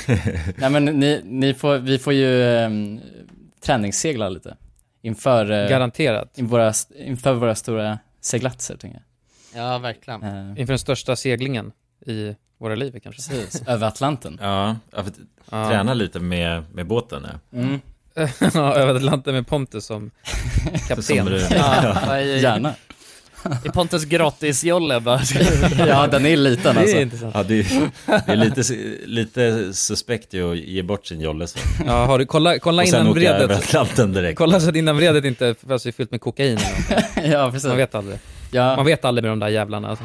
Speaker 3: nej men ni, ni får, vi får ju ehm, träningssegla lite. Inför, eh,
Speaker 2: Garanterat.
Speaker 3: In våra, inför våra stora seglatser, tänker jag.
Speaker 1: Ja, verkligen.
Speaker 2: Inför den största seglingen i våra liv kanske.
Speaker 3: Precis, över Atlanten.
Speaker 4: Ja, ja, för att träna lite med, med båten. Ja.
Speaker 3: Mm.
Speaker 2: <laughs> ja, över Atlanten med Pontus som kapten.
Speaker 4: Som du-
Speaker 1: Ja, i-
Speaker 3: Gärna.
Speaker 1: I Pontus gratisjolle bara.
Speaker 3: <laughs> Ja, den är liten
Speaker 1: Det är
Speaker 3: alltså.
Speaker 1: intressant.
Speaker 4: Ja, det är, det är lite, lite suspekt ju att ge bort sin jolle så.
Speaker 2: Ja, har du, kolla, kolla
Speaker 4: Och sen
Speaker 2: innan
Speaker 4: åka över
Speaker 2: vredet.
Speaker 4: Atlanten direkt.
Speaker 2: Kolla så att innan vredet inte alltså, är fyllt med kokain eller någonting.
Speaker 3: Ja, precis.
Speaker 2: Man vet aldrig.
Speaker 3: Ja.
Speaker 2: Man vet aldrig med de där jävlarna alltså.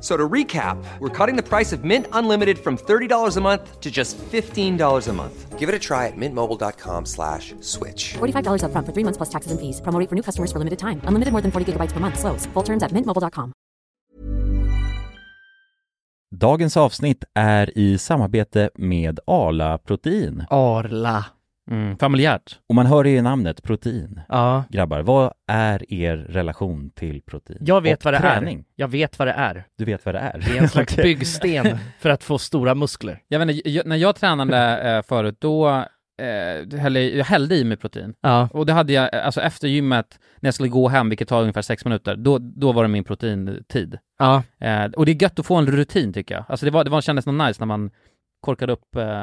Speaker 5: So to recap, we're cutting the price of Mint Unlimited from $30 a month to just $15 a month. Give it a try at mintmobile.com slash switch.
Speaker 18: $45 upfront for three months plus taxes and fees. Promo rate for new customers for limited time. Unlimited more than 40 gigabytes per month. Slows. Full terms at mintmobile.com.
Speaker 4: Dagens avsnitt är i samarbete med Arla Protein.
Speaker 2: Arla. Mm, familjärt.
Speaker 4: Och man hör ju i namnet protein.
Speaker 6: Ja.
Speaker 4: Grabbar, vad är er relation till protein?
Speaker 6: Jag vet
Speaker 4: Och
Speaker 6: vad det
Speaker 4: träning?
Speaker 6: är. Jag vet vad det är.
Speaker 4: Du vet vad det är?
Speaker 6: Det är en slags
Speaker 4: Okej.
Speaker 6: byggsten för att få stora muskler.
Speaker 2: Jag vet inte, jag, när jag tränade eh, förut, då eh, hällde jag jag hällde i mig protein.
Speaker 6: Ja.
Speaker 2: Och det hade jag, eh, alltså efter gymmet, när jag skulle gå hem, vilket tar ungefär sex minuter, då, då var det min proteintid.
Speaker 6: Ja.
Speaker 2: Eh, och det är gött att få en rutin tycker jag. Alltså det, var, det var, kändes nog nice när man korkade upp eh,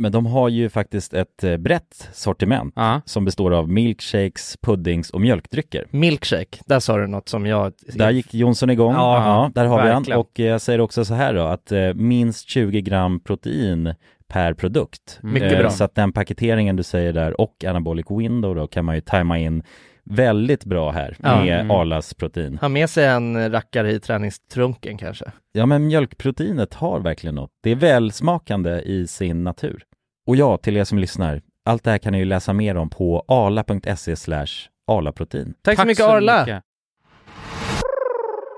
Speaker 4: men de har ju faktiskt ett eh, brett sortiment som består av milkshakes, puddings och mjölkdrycker.
Speaker 6: Mm. Milkshake, där sa du något som jag...
Speaker 4: Där gick Jonsson igång.
Speaker 6: Ja,
Speaker 4: Ja, där har vi
Speaker 6: verkligen.
Speaker 4: han. Och eh, jag säger också så här då, att eh, minst 20 gram protein per produkt.
Speaker 6: Mm. Mycket
Speaker 4: Eh,
Speaker 6: bra.
Speaker 4: Så att den paketeringen du säger där och anabolic window då kan man ju tajma in väldigt bra här
Speaker 6: Ja.
Speaker 4: med
Speaker 6: Mm.
Speaker 4: Arlas protein.
Speaker 6: Ha med sig en rackare i träningstrunken kanske.
Speaker 4: Ja, men mjölkproteinet har verkligen något. Det är välsmakande i sin natur. Och ja, till er som lyssnar, allt det här kan ni ju läsa mer om på arla.se slash arlaprotein.
Speaker 6: Tack så mycket, Arla.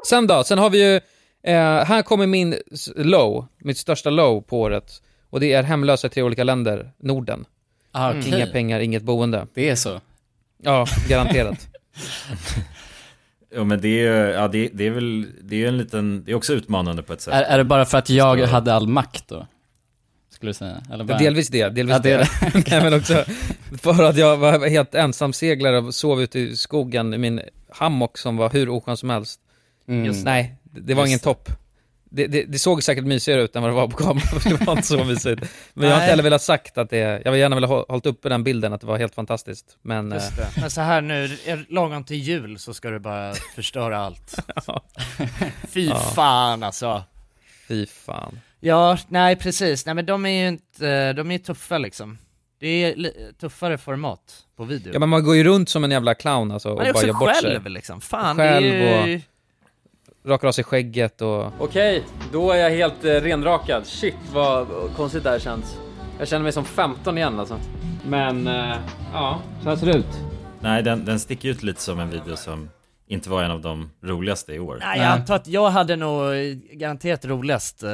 Speaker 2: Sen då, sen har vi ju, eh, här kommer min s- low, mitt största low på året. Och det är hemlösa i tre olika länder, Norden.
Speaker 3: Ah, okej.
Speaker 2: Inga pengar, inget boende.
Speaker 3: Det är så.
Speaker 2: Ja, garanterat.
Speaker 11: Ja, men det är, ju- ja, det, det är väl, det är ju en liten, det är också utmanande på ett sätt.
Speaker 3: Är, är det bara för att jag hade all makt då? Skulle du säga? Eller bara...
Speaker 2: Delvis det, delvis
Speaker 3: Ja,
Speaker 2: det.
Speaker 3: är
Speaker 2: Nej, <laughs> men också för att jag var helt ensamseglare och sov ute i skogen i min hammock som var hur oskön som helst.
Speaker 3: Mm.
Speaker 2: Just, nej, det det var
Speaker 3: Just
Speaker 2: ingen
Speaker 3: det.
Speaker 2: topp. Det, det, det såg säkert mysigare ut än vad det var på kameran, <laughs> för det var inte så mysigt. Men jag har
Speaker 6: Nej.
Speaker 2: inte heller velat sagt att det, jag vill gärna vilja ha- hållit uppe den bilden att det var helt fantastiskt. Men, eh,
Speaker 6: Men så här nu, är- lagom till jul så ska du bara förstöra allt. Fy
Speaker 2: Ja.
Speaker 6: fan alltså.
Speaker 2: fy fan.
Speaker 1: Ja, nej precis. Nej men de är ju inte, de är ju tuffa liksom. Det är li- tuffare format på video.
Speaker 2: Ja men man går ju runt som en jävla clown alltså och
Speaker 1: Man är
Speaker 2: bara
Speaker 1: också
Speaker 2: gör bort sig.
Speaker 1: själv, liksom. Fan, det är
Speaker 2: själv
Speaker 1: ju-
Speaker 2: och rakar av sig skägget och...
Speaker 10: Okej, då är jag helt eh, renrakad. Shit vad konstigt det här känns. Jag känner mig som 15 igen alltså. Men, eh, ja. Så här ser det ut.
Speaker 11: Nej, den, den sticker ut lite som en video som inte var en av de roligaste i år.
Speaker 1: Nej, jag antar att jag hade nog garanterat roligast, eh,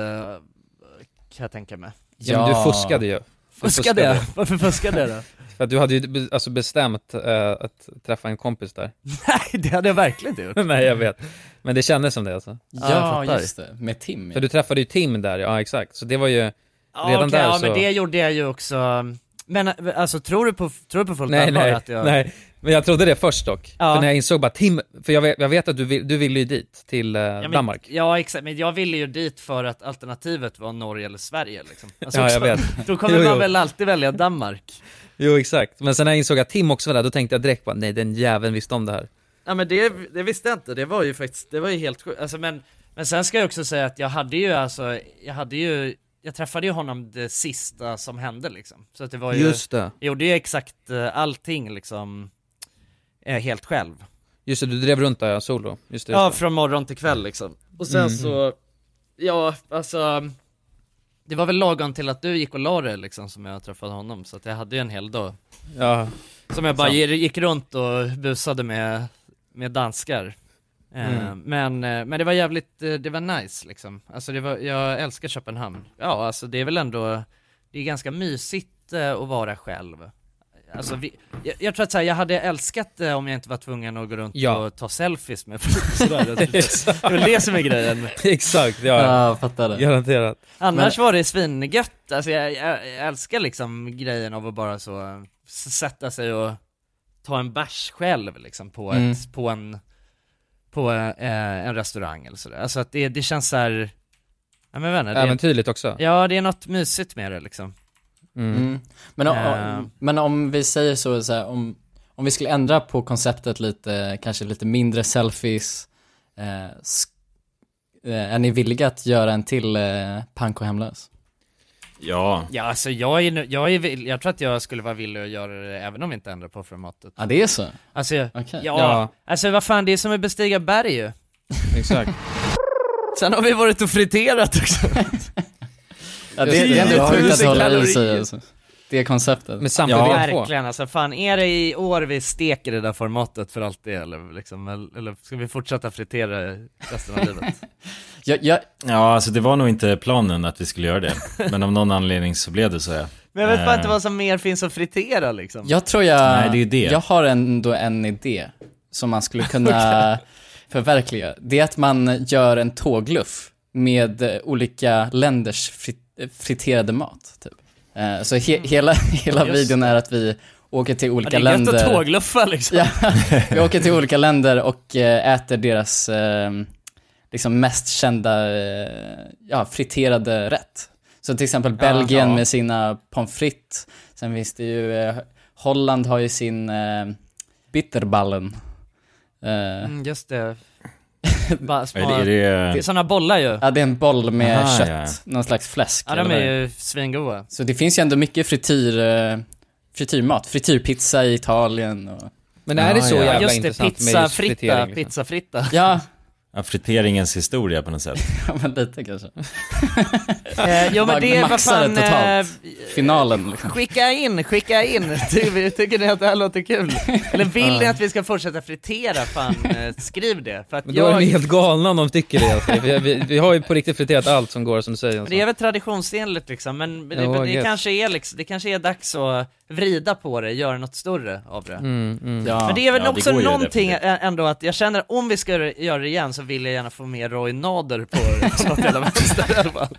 Speaker 1: kan jag tänka mig.
Speaker 2: Ja, men du fuskade ju. Du
Speaker 1: Fuskade jag? Varför fuskade
Speaker 2: <laughs>
Speaker 1: jag då?
Speaker 2: För att du hade ju be- alltså bestämt eh, att träffa en kompis där.
Speaker 1: Nej, det hade jag verkligen inte gjort.
Speaker 2: <laughs> Nej, jag vet. Men det kändes som det alltså.
Speaker 3: Ja, jag fattar. just det. Med Tim, ja.
Speaker 2: För du träffade ju Tim där, ja exakt. Så det var ju,
Speaker 1: Ja,
Speaker 2: redan
Speaker 1: okej,
Speaker 2: där
Speaker 1: ja
Speaker 2: så...
Speaker 1: men det gjorde jag ju också. Men eh, alltså tror du på, tror du på fullt
Speaker 2: nej,
Speaker 1: allvar
Speaker 2: nej,
Speaker 1: att jag...
Speaker 2: nej. Men jag trodde det först dock.
Speaker 1: Ja.
Speaker 2: För när jag insåg bara Tim, för jag vet, jag vet att du, vill, du ville ju dit, till eh,
Speaker 1: Ja, men,
Speaker 2: Danmark.
Speaker 1: Ja exakt, men jag ville ju dit för att alternativet var Norge eller Sverige liksom. Alltså,
Speaker 2: Ja, jag
Speaker 1: så-
Speaker 2: vet.
Speaker 1: Då kommer
Speaker 2: Jo,
Speaker 1: man
Speaker 2: jo.
Speaker 1: väl alltid välja Danmark.
Speaker 2: Jo exakt. Men sen när jag insåg att Tim också var där, då tänkte jag direkt bara, nej den jäveln visste om det här.
Speaker 1: Ja men det, det visste jag inte, det var ju faktiskt, det var ju helt sjukt. Alltså, men, men sen ska jag också säga att jag hade ju alltså, jag hade ju, jag träffade ju honom det sista som hände liksom. Så att det var ju,
Speaker 2: Just det.
Speaker 1: jag gjorde ju exakt eh, allting liksom, eh, helt själv.
Speaker 2: Just det, du drev runt där ja, solo. Just det, just
Speaker 1: Ja,
Speaker 2: det.
Speaker 1: från morgon till kväll liksom. Och sen
Speaker 2: Mm.
Speaker 1: så, ja alltså, det var väl lagom till att du gick och la dig liksom som jag träffade honom, så att jag hade ju en hel dag.
Speaker 2: Ja.
Speaker 1: Som jag bara
Speaker 2: Sant.
Speaker 1: gi- gick runt och busade med, med danskar. Eh,
Speaker 2: Mm.
Speaker 1: Men, eh, men det var jävligt, eh, det var nice liksom. Alltså det var, jag älskar Köpenhamn. Ja, alltså det är väl ändå, det är ganska mysigt eh, att vara själv. Alltså vi, jag, jag tror att så här, jag hade älskat det om jag inte var tvungen att gå runt
Speaker 2: Ja. alltså.
Speaker 1: och ta selfies med folk sådär. <laughs> Det är väl det som är grejen.
Speaker 2: <laughs> Exakt, ja.
Speaker 3: Ja, fattar det.
Speaker 2: Garanterat.
Speaker 1: Annars var det svingött, alltså jag, jag, jag älskar liksom grejen av att bara så s- sätta sig och ta en bärs själv liksom på,
Speaker 3: Mm.
Speaker 1: ett, på en på eh, en restaurang eller sådär. Alltså att det, det känns såhär, ja men vänner, det-
Speaker 2: Äventyrligt också.
Speaker 1: Ja det är något mysigt med det liksom.
Speaker 3: Mm. Men, om,
Speaker 1: Eh,
Speaker 2: Ehm.
Speaker 3: om- men om vi säger så, så här, om, om vi skulle ändra på konceptet lite, kanske lite mindre selfies, eh, sk- eh, är ni villiga att göra en till eh, Panko hemlös?
Speaker 11: Ja.
Speaker 1: Ja, alltså jag är, nu- jag är vill- jag tror att jag skulle vara villig att göra det även om vi inte ändrar på formatet.
Speaker 3: Ja, det är så?
Speaker 1: Alltså, jag-
Speaker 3: Okej.
Speaker 1: ja,
Speaker 3: Ja.
Speaker 1: Alltså vad fan, det är som att bestiga berg ju.
Speaker 2: Exakt.
Speaker 1: Sen har vi varit och friterat också.
Speaker 3: Ja, det, det är ändå sjukt att hålla i sig alltså. Det konceptet.
Speaker 2: Men
Speaker 1: ja, verkligen alltså. Fan, är det i år vi steker det där formatet för allt det eller liksom, eller eller ska vi fortsätta fritera resten av livet?
Speaker 11: Ja, alltså det var nog inte planen att vi skulle göra det.
Speaker 1: <laughs>
Speaker 11: Men av någon anledning så blev det så. Ja.
Speaker 1: Men jag vet bara
Speaker 11: Eh,
Speaker 1: inte vad som mer finns att fritera liksom.
Speaker 3: Jag tror jag,
Speaker 11: Nej, det är ju det.
Speaker 3: jag har ändå en idé som man skulle kunna förverkliga. Det är att man gör en tågluff med eh, olika länders frit, eh, friterade mat. Typ. Eh, Så he, hela, hela
Speaker 1: Just
Speaker 3: videon är att vi åker till olika
Speaker 1: ja, det är gött att
Speaker 3: länder.
Speaker 1: tågluffa
Speaker 3: <laughs>
Speaker 1: liksom.
Speaker 3: Vi åker till olika länder och eh, äter deras eh, liksom mest kända eh, ja, friterade rätt. Så till exempel Belgien
Speaker 1: ja.
Speaker 3: med sina pommes frites. Sen finns det ju, eh, Holland har ju sin eh, bitterballen. Eh,
Speaker 1: Mm, just
Speaker 2: <laughs>
Speaker 1: det. Bara små,
Speaker 3: Är det- är det-
Speaker 1: det är såna bollar ju.
Speaker 3: Ja, det är en boll med
Speaker 1: Aha,
Speaker 3: kött,
Speaker 1: ja.
Speaker 3: någon slags fläsk.
Speaker 1: Ja,
Speaker 3: eller
Speaker 1: de
Speaker 3: vad
Speaker 1: är
Speaker 3: det
Speaker 1: ju svingoda.
Speaker 3: Så det finns ju ändå mycket frityr, eh, frityrmat. Frityrpizza i Italien och...
Speaker 2: Men är det så jävla
Speaker 1: just det,
Speaker 2: intressant
Speaker 1: pizza
Speaker 2: med just
Speaker 1: fritta,
Speaker 2: fritering? Liksom?
Speaker 1: Pizza
Speaker 2: <laughs>
Speaker 1: fritta.
Speaker 3: Ja. <laughs>
Speaker 11: Ja, friteringens historia på något sätt.
Speaker 3: Ja, men lite kanske.
Speaker 1: Eh, jo, men
Speaker 3: Bara
Speaker 1: det är vad
Speaker 3: maxa
Speaker 1: fan, eh,
Speaker 3: totalt. Finalen liksom.
Speaker 1: Skicka in, skicka
Speaker 2: <laughs>
Speaker 1: in. Ty- Tycker ni att det här låter kul? Eller vill
Speaker 2: Ja.
Speaker 1: ni att vi ska fortsätta fritera? Fan, eh, skriv det. För att
Speaker 2: Men då är
Speaker 1: jag...
Speaker 2: de helt galna om de tycker det. Alltså. Vi, vi, vi har ju på riktigt friterat allt som går som du säger.
Speaker 1: Men Det är väl traditionsenligt liksom, men det,
Speaker 2: Ja,
Speaker 1: men
Speaker 2: I
Speaker 1: det,
Speaker 2: guess.
Speaker 1: kanske är liksom, det kanske är dags att vrida på det, göra något större av det.
Speaker 2: Mm, mm.
Speaker 1: Men det är väl
Speaker 2: Ja, det
Speaker 1: också
Speaker 2: går ju
Speaker 1: någonting ä- ändå att jag känner om vi ska göra- göra det igen så vill jag gärna få med Roy Nader på på något jävla vänster i alla fall.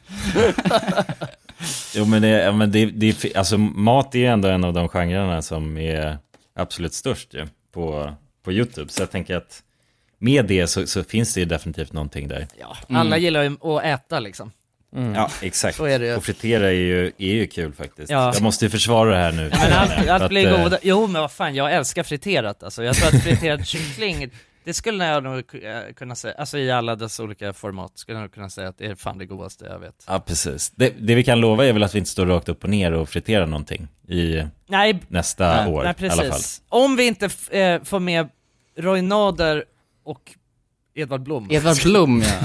Speaker 11: Jo, men, det, ja, men det, det, alltså, mat är ju ändå en av de genrerna som är absolut störst ju, på, på YouTube. Så jag tänker att med det så, så finns det ju definitivt någonting där.
Speaker 1: Ja, Alla gillar ju att äta liksom.
Speaker 11: Ja, exakt.
Speaker 1: Så är det ju.
Speaker 11: Och fritera är ju, är ju kul faktiskt.
Speaker 1: Ja.
Speaker 11: Jag måste ju försvara det här nu.
Speaker 1: Men allt,
Speaker 11: För
Speaker 1: allt
Speaker 11: att,
Speaker 1: blir
Speaker 11: eh,
Speaker 1: goda. Jo men vad fan, jag älskar friterat alltså. Jag tror att friterad kyckling, det skulle jag nog ku- eh, kunna säga, alltså i alla dess olika format, skulle jag nog kunna säga att det är fan det godaste jag vet.
Speaker 11: Ja, precis. Det, det vi kan lova är väl att vi inte står rakt upp och ner och friterar någonting i
Speaker 1: Nej,
Speaker 11: nästa
Speaker 1: nej,
Speaker 11: år
Speaker 1: nej,
Speaker 11: i alla fall.
Speaker 1: precis. Om vi inte f- eh, får med Roy Nader och Edvard Blom.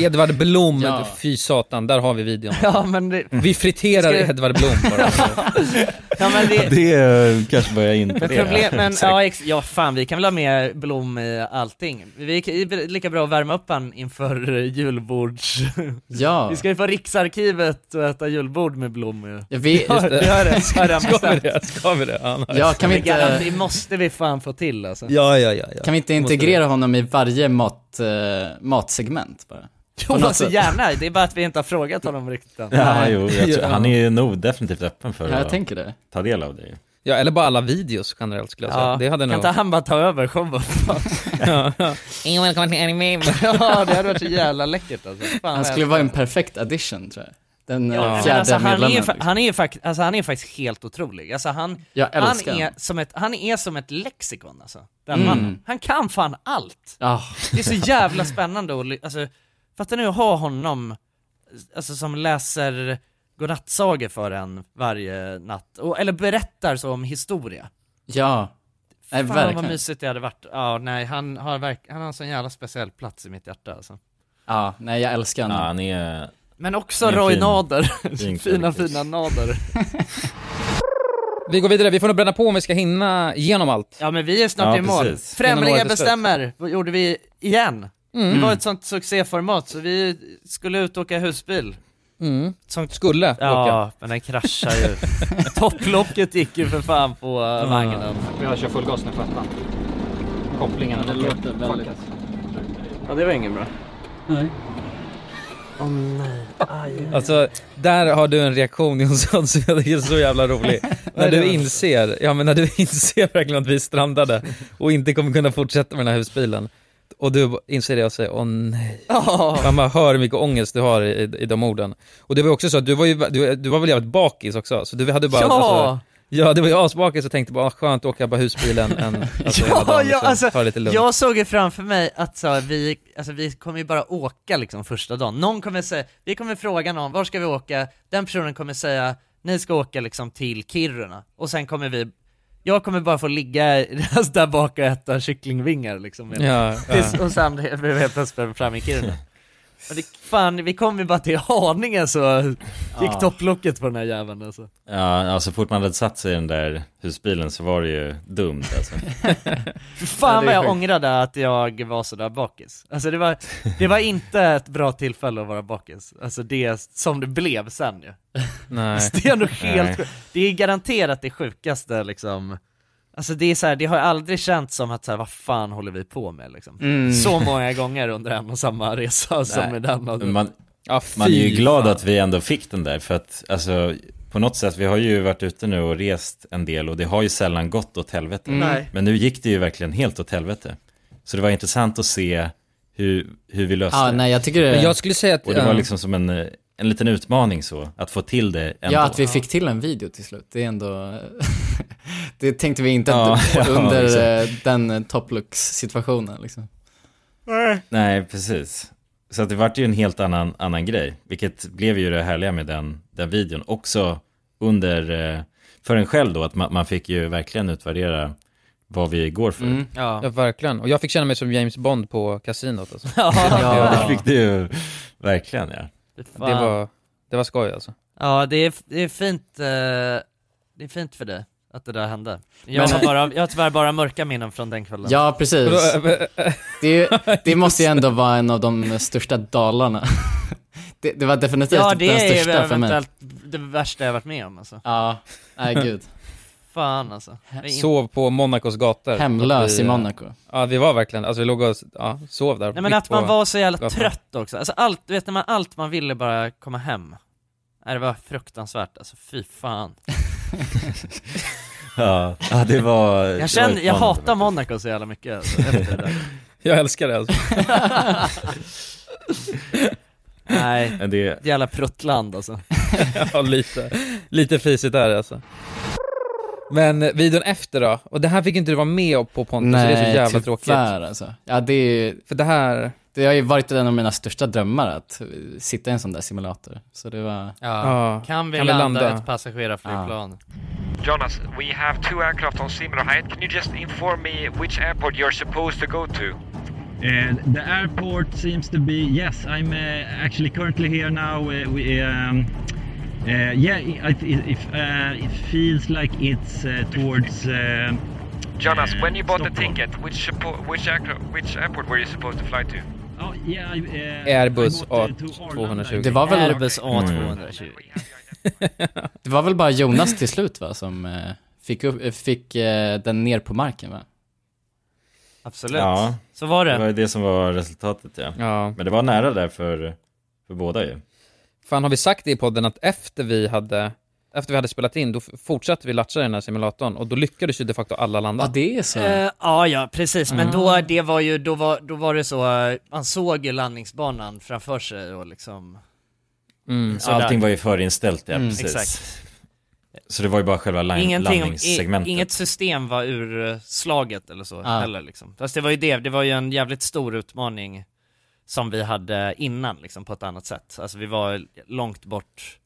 Speaker 2: Edvard Blom,
Speaker 1: Ja.
Speaker 2: fy satan, där har vi videon.
Speaker 1: Ja, men det-
Speaker 2: Vi friterar
Speaker 1: Ska-
Speaker 2: Edvard Blom bara. alltså.
Speaker 1: ja, men det,
Speaker 11: eh, kanske börjar in på
Speaker 1: Men
Speaker 11: det.
Speaker 1: problem, men,
Speaker 11: Exakt.
Speaker 1: ja, ex, ja fan vi kan väl ha med Blom i allting. Vi kan- det är lika bra att värma upp han inför <laughs> eh, julbords...
Speaker 3: Ja.
Speaker 1: Vi ska ju på Riksarkivet och äta julbord med Blom ju.
Speaker 3: Ja, vi-
Speaker 1: har- det har jag har jag
Speaker 2: Ska vi
Speaker 1: bestämt.
Speaker 2: det? Ska vi det? Ja, nice.
Speaker 3: Ja, kan vi inte-
Speaker 1: Garant, Det måste vi fan få till alltså.
Speaker 2: Ja, ja, ja, ja.
Speaker 3: Kan vi inte
Speaker 2: Måste
Speaker 3: integrera honom i varje mat, eh, matsegment bara? På
Speaker 1: Jo,
Speaker 3: något
Speaker 1: alltså
Speaker 3: sätt.
Speaker 1: gärna, det är bara att vi inte har frågat honom riktigt än.
Speaker 11: Ja, jo, jag tror, han är ju nog definitivt öppen för
Speaker 1: Ja, jag Mm.
Speaker 11: att
Speaker 1: tänker det.
Speaker 11: ta del av det. ju.
Speaker 2: Ja, eller bara alla videos generellt skulle jag säga.
Speaker 1: Ja,
Speaker 2: alltså, det hade
Speaker 1: kan
Speaker 2: nog...
Speaker 1: inte han bara ta över showen?
Speaker 2: Ja.
Speaker 1: <laughs> Välkommen till anime. <laughs> ja, det hade varit så jävla läckert alltså. Fan, vad
Speaker 3: Han
Speaker 1: jag
Speaker 3: skulle vara en perfekt addition tror jag. Den eh,
Speaker 1: Ja, men
Speaker 3: fjärde
Speaker 1: alltså, han,
Speaker 3: medlemmen. liksom.
Speaker 1: är, fa- han, är fakt- alltså, han är faktiskt helt otrolig. Alltså, han,
Speaker 3: Jag
Speaker 1: han,
Speaker 3: älskar
Speaker 1: är
Speaker 3: honom.
Speaker 1: som ett, han är som ett lexikon alltså. Den
Speaker 3: Mm.
Speaker 1: mannen. Han kan fan allt.
Speaker 3: Ja.
Speaker 1: Det är så jävla spännande att, ly- alltså, fattar ni att ha honom alltså, som läser godnattsagor för en varje natt, och, eller berättar så om historia.
Speaker 3: Ja. Nej,
Speaker 1: Fan
Speaker 3: verkligen.
Speaker 1: vad mysigt det hade varit. Ja, nej, han har, verk- han har en sån jävla speciell plats i mitt hjärta alltså.
Speaker 3: Ja, nej jag älskar honom.
Speaker 11: Ja, han är...
Speaker 1: Men också
Speaker 3: Han är
Speaker 1: Roy
Speaker 3: fin.
Speaker 1: Nader. <laughs>
Speaker 3: Fin
Speaker 1: fina,
Speaker 3: karaktär.
Speaker 1: fina Nader.
Speaker 2: Vi går vidare, vi får nog bränna på om vi ska hinna igenom allt.
Speaker 1: Ja men vi är snart
Speaker 2: Ja,
Speaker 1: i mål.
Speaker 2: precis. Innan
Speaker 1: Främlingar
Speaker 2: året är slut.
Speaker 1: bestämmer, vad gjorde vi igen.
Speaker 2: Mm.
Speaker 1: Det var ett sånt succéformat så vi skulle ut och åka husbil.
Speaker 2: Mm. Skulle
Speaker 1: Ja,
Speaker 2: åka.
Speaker 1: men den kraschar <laughs> ju. Topplocket gick ju för fan på uh, vagnen.
Speaker 12: Jag kör full gas nu för attan. Kopplingen
Speaker 1: Ja, det låter väldigt-
Speaker 12: Ja, det var ingen bra. Nej. Åh nej.
Speaker 2: Alltså, där har du en reaktion Jonsson som jag tycker är så jävla
Speaker 1: <laughs>
Speaker 2: rolig. när du inser, ja men när du <laughs> inser verkligen att vi är strandade och inte kommer kunna fortsätta med den här husbilen. Och du inser det och säger åh nej.
Speaker 1: Ja.
Speaker 2: Man bara hör hur mycket ångest du har i, i de orden. Och det var ju också så att du var, ju, du, du var väl jävligt bakis också, så du hade bara...
Speaker 1: Ja.
Speaker 2: Alltså, ja, det var ju asbakis och tänkte bara, ah, skönt att åka bara husbilen en,
Speaker 1: <laughs>
Speaker 2: alltså, hela dagen,
Speaker 1: ja,
Speaker 2: liksom,
Speaker 1: alltså,
Speaker 2: ta det lite lugnt.
Speaker 1: jag såg ju framför mig att så, vi, alltså, vi kommer ju bara åka liksom första dagen. Någon kommer säga, vi kommer fråga någon, var ska vi åka? Den personen kommer säga, ni ska åka liksom till Kiruna, och sen kommer vi jag kommer bara få ligga <laughs> där bak och äta kycklingvingar liksom. <laughs>
Speaker 2: Ja,
Speaker 1: Tills,
Speaker 2: ja.
Speaker 1: Och sen blev jag helt plötsligt fram i Kiruna. Men det, fan, vi kom ju bara till Haninge så
Speaker 2: <laughs>
Speaker 1: gick
Speaker 4: Ja.
Speaker 1: topplocket på den här jäveln alltså.
Speaker 4: Ja, ja, så fort man hade satt sig i den där husbilen så var det ju dumt
Speaker 3: <laughs>
Speaker 4: alltså.
Speaker 1: Fan
Speaker 4: Ja, det är
Speaker 1: vad jag
Speaker 4: sjukt.
Speaker 1: ångrade att jag var sådär bakis. Alltså det var, det var inte ett bra tillfälle att vara bakis. Alltså det som det blev sen ju.
Speaker 2: Nej.
Speaker 1: Alltså det är nog helt
Speaker 2: Nej.
Speaker 1: sjukt. Det är garanterat det sjukaste liksom. Alltså det är så här, det har jag aldrig känt som att så här, vad fan håller vi på med liksom.
Speaker 4: Mm.
Speaker 1: Så många gånger under en och samma resa som
Speaker 4: Nej.
Speaker 1: med den. och-
Speaker 4: Men Man, man är ju glad att vi ändå fick den där för att alltså på något sätt, vi har ju varit ute nu och rest en del och det har ju sällan gått åt helvete.
Speaker 1: Mm. Nej.
Speaker 4: Men nu gick det ju verkligen helt åt helvete. Så det var intressant att se hur, hur vi löste
Speaker 3: Ja,
Speaker 4: det.
Speaker 3: nej, jag tycker det- Men jag skulle säga att-
Speaker 4: Och det var
Speaker 3: ja.
Speaker 4: liksom som en, eh, en liten utmaning så, att få till det ändå.
Speaker 3: Ja, att vi fick till en video till slut, det är ändå... <laughs> det tänkte vi
Speaker 1: <laughs>
Speaker 3: inte <laughs>
Speaker 4: Ja,
Speaker 3: att-
Speaker 4: ja,
Speaker 3: under eh,
Speaker 4: exakt.
Speaker 3: den topplux-situationen liksom.
Speaker 4: Nej. Nej, precis. Så att det vart ju en helt annan, annan grej, vilket blev ju det härliga med den, den videon. Också under, eh, för en själv då, att man, man fick ju verkligen utvärdera vad vi går för.
Speaker 2: Mm.
Speaker 1: Ja.
Speaker 2: verkligen. Och jag fick känna mig som James Bond på kasinot alltså.
Speaker 1: <laughs> Ja.
Speaker 4: Ja, det fick du ju verkligen ja.
Speaker 2: Det
Speaker 1: Fan.
Speaker 2: var, det var skoj alltså.
Speaker 1: Ja, det är, det är fint, eh, det är fint för dig att det där hände. Jag,
Speaker 3: Men-
Speaker 1: har bara, jag har tyvärr bara mörka minnen från den kvällen.
Speaker 3: Ja, precis. Det, är ju-
Speaker 2: <laughs>
Speaker 3: det måste ju ändå vara en av de största dalarna. <laughs> Det, det var definitivt
Speaker 1: Ja, det
Speaker 3: den
Speaker 1: är ju
Speaker 3: största för mig.
Speaker 1: eventuellt det värsta jag varit med om alltså.
Speaker 3: Ja, nej gud.
Speaker 1: Fan alltså. Det är inte-
Speaker 2: Sov på Monacos gator. <laughs>
Speaker 3: Hemlös
Speaker 2: Att vi, eh,
Speaker 3: i Monaco.
Speaker 2: Ja, vi var verkligen, alltså vi låg och ja, sov där.
Speaker 1: Nej men
Speaker 2: mitt
Speaker 1: att man
Speaker 2: på
Speaker 1: var så jävla
Speaker 2: gatan.
Speaker 1: trött också. Alltså allt, du vet när man, allt man ville bara komma hem. Nej, det var fruktansvärt alltså, fy fan.
Speaker 4: Ja, ja det var... det var
Speaker 1: Jag känner, jag
Speaker 4: utmanande.
Speaker 1: hatar Monaco så jävla mycket
Speaker 4: <laughs>
Speaker 1: alltså, efter det där.
Speaker 2: Jag älskar det alltså.
Speaker 1: Nej,
Speaker 4: Men det-
Speaker 1: jävla pruttland alltså.
Speaker 2: ja, lite, lite fisigt är det alltså. Men eh, videon efter då? Och det här fick inte du vara med på Pontus, så det är så jävla tråkigt.
Speaker 3: tyvärr alltså. Ja, det är ju...
Speaker 2: För det här...
Speaker 3: Det har ju varit en av mina största drömmar att eh, sitta i en sån där simulator. Så det var...
Speaker 1: Kan vi
Speaker 3: Kan vi
Speaker 1: landa,
Speaker 3: landa?
Speaker 1: ett passagerarflygplan?
Speaker 19: Jonas, we have two aircraft on similar height. Can you just inform me which airport you're supposed to go to?
Speaker 15: And the airport seems to be yes. I'm uh, actually currently here now. Uh, we, um, uh, yeah, it, it, if, uh, it feels like it's uh, towards. Uh,
Speaker 19: Jonas, when you bought
Speaker 15: Stockholm.
Speaker 19: the ticket, which suppo- which aircraft, which airport were you supposed to fly to?
Speaker 15: Oh yeah, I, uh,
Speaker 2: Airbus
Speaker 15: I bought, uh, to Arlanda.
Speaker 3: Det var väl...
Speaker 1: A220.
Speaker 3: Det var väl bara Jonas till slut va, som eh, fick, upp, eh, fick eh, den ner på marken va?
Speaker 1: Absolut.
Speaker 4: Ja.
Speaker 1: Så var det.
Speaker 4: Det var ju det som var resultatet ja.
Speaker 2: Ja.
Speaker 4: Men det var nära där för, för båda ju.
Speaker 1: Mm.
Speaker 2: Fan, har vi sagt det i podden att efter vi hade, efter vi hade spelat in, då f- fortsatte vi latcha i den här simulatorn och då lyckades ju de facto alla landa.
Speaker 3: Ja, det är så.
Speaker 1: Eh, ja, ja, precis. Men
Speaker 2: Mm.
Speaker 1: då, det var ju, då var, då var det så, eh, man såg ju landningsbanan framför sig och liksom...
Speaker 2: Mm,
Speaker 1: sådär.
Speaker 4: Allting var ju förinställt ja,
Speaker 1: Mm.
Speaker 4: precis.
Speaker 1: Exakt.
Speaker 4: Så det var ju bara själva line-
Speaker 1: Ingenting, i,
Speaker 4: landningssegmentet.
Speaker 1: inget system var urslaget eller så
Speaker 4: Ah.
Speaker 1: heller liksom. Fast det var ju det, det var ju en jävligt stor utmaning som vi hade innan liksom på ett annat sätt. Alltså vi var långt bort.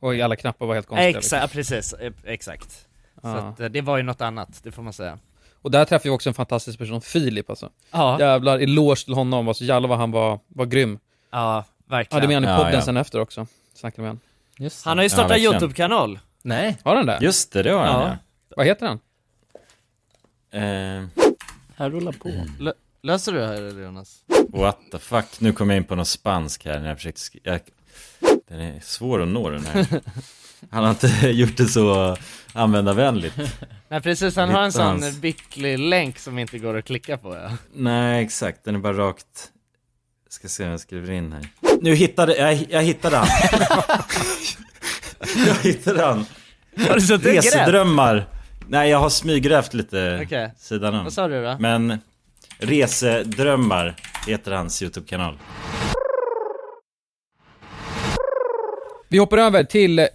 Speaker 2: Och alla knappar var helt konstiga.
Speaker 1: Exakt,
Speaker 2: liksom.
Speaker 1: ja, precis, eh, exakt. Så
Speaker 2: Ah.
Speaker 1: att, eh, det var ju något annat, det får man säga.
Speaker 2: Och där träffade vi också en fantastisk person, Filip alltså.
Speaker 1: Ja.
Speaker 2: Jävlar, eloge till honom, alltså jävlar vad han var, var grym.
Speaker 1: Ja, verkligen.
Speaker 2: Hade med honom i
Speaker 1: Ja,
Speaker 2: podden
Speaker 1: ja.
Speaker 2: sen efter också, snackade med honom.
Speaker 3: Just
Speaker 1: Han har ju startat YouTube-kanal.
Speaker 3: Nej.
Speaker 2: Har han det?
Speaker 4: Just det, det har han, ja.
Speaker 2: Vad heter han?
Speaker 4: Eh,
Speaker 3: Här rullar på.
Speaker 1: Lö- löser du det här eller Jonas?
Speaker 4: what the fuck, nu kom jag in på någon spansk här när jag försökte sk- jag... Den är svår att nå den här. Han har inte <laughs> gjort det så användarvänligt.
Speaker 1: Nej precis, han har en
Speaker 4: Hitta
Speaker 1: sån
Speaker 4: hans-
Speaker 1: bicklig länk som inte går att klicka på ja.
Speaker 4: Nej, exakt. Den är bara rakt... Jag ska se om jag skriver in här. Nu hittade... Jag, jag hittade han. <laughs> jag hittade han.
Speaker 1: Har du suttit och grävt?
Speaker 4: Resedrömmar. Nej, jag har smygrävt lite
Speaker 1: Okej.
Speaker 4: sidan om.
Speaker 1: Vad sa du då?
Speaker 4: Men Resedrömmar heter hans YouTube-kanal.
Speaker 2: Vi hoppar över till eh,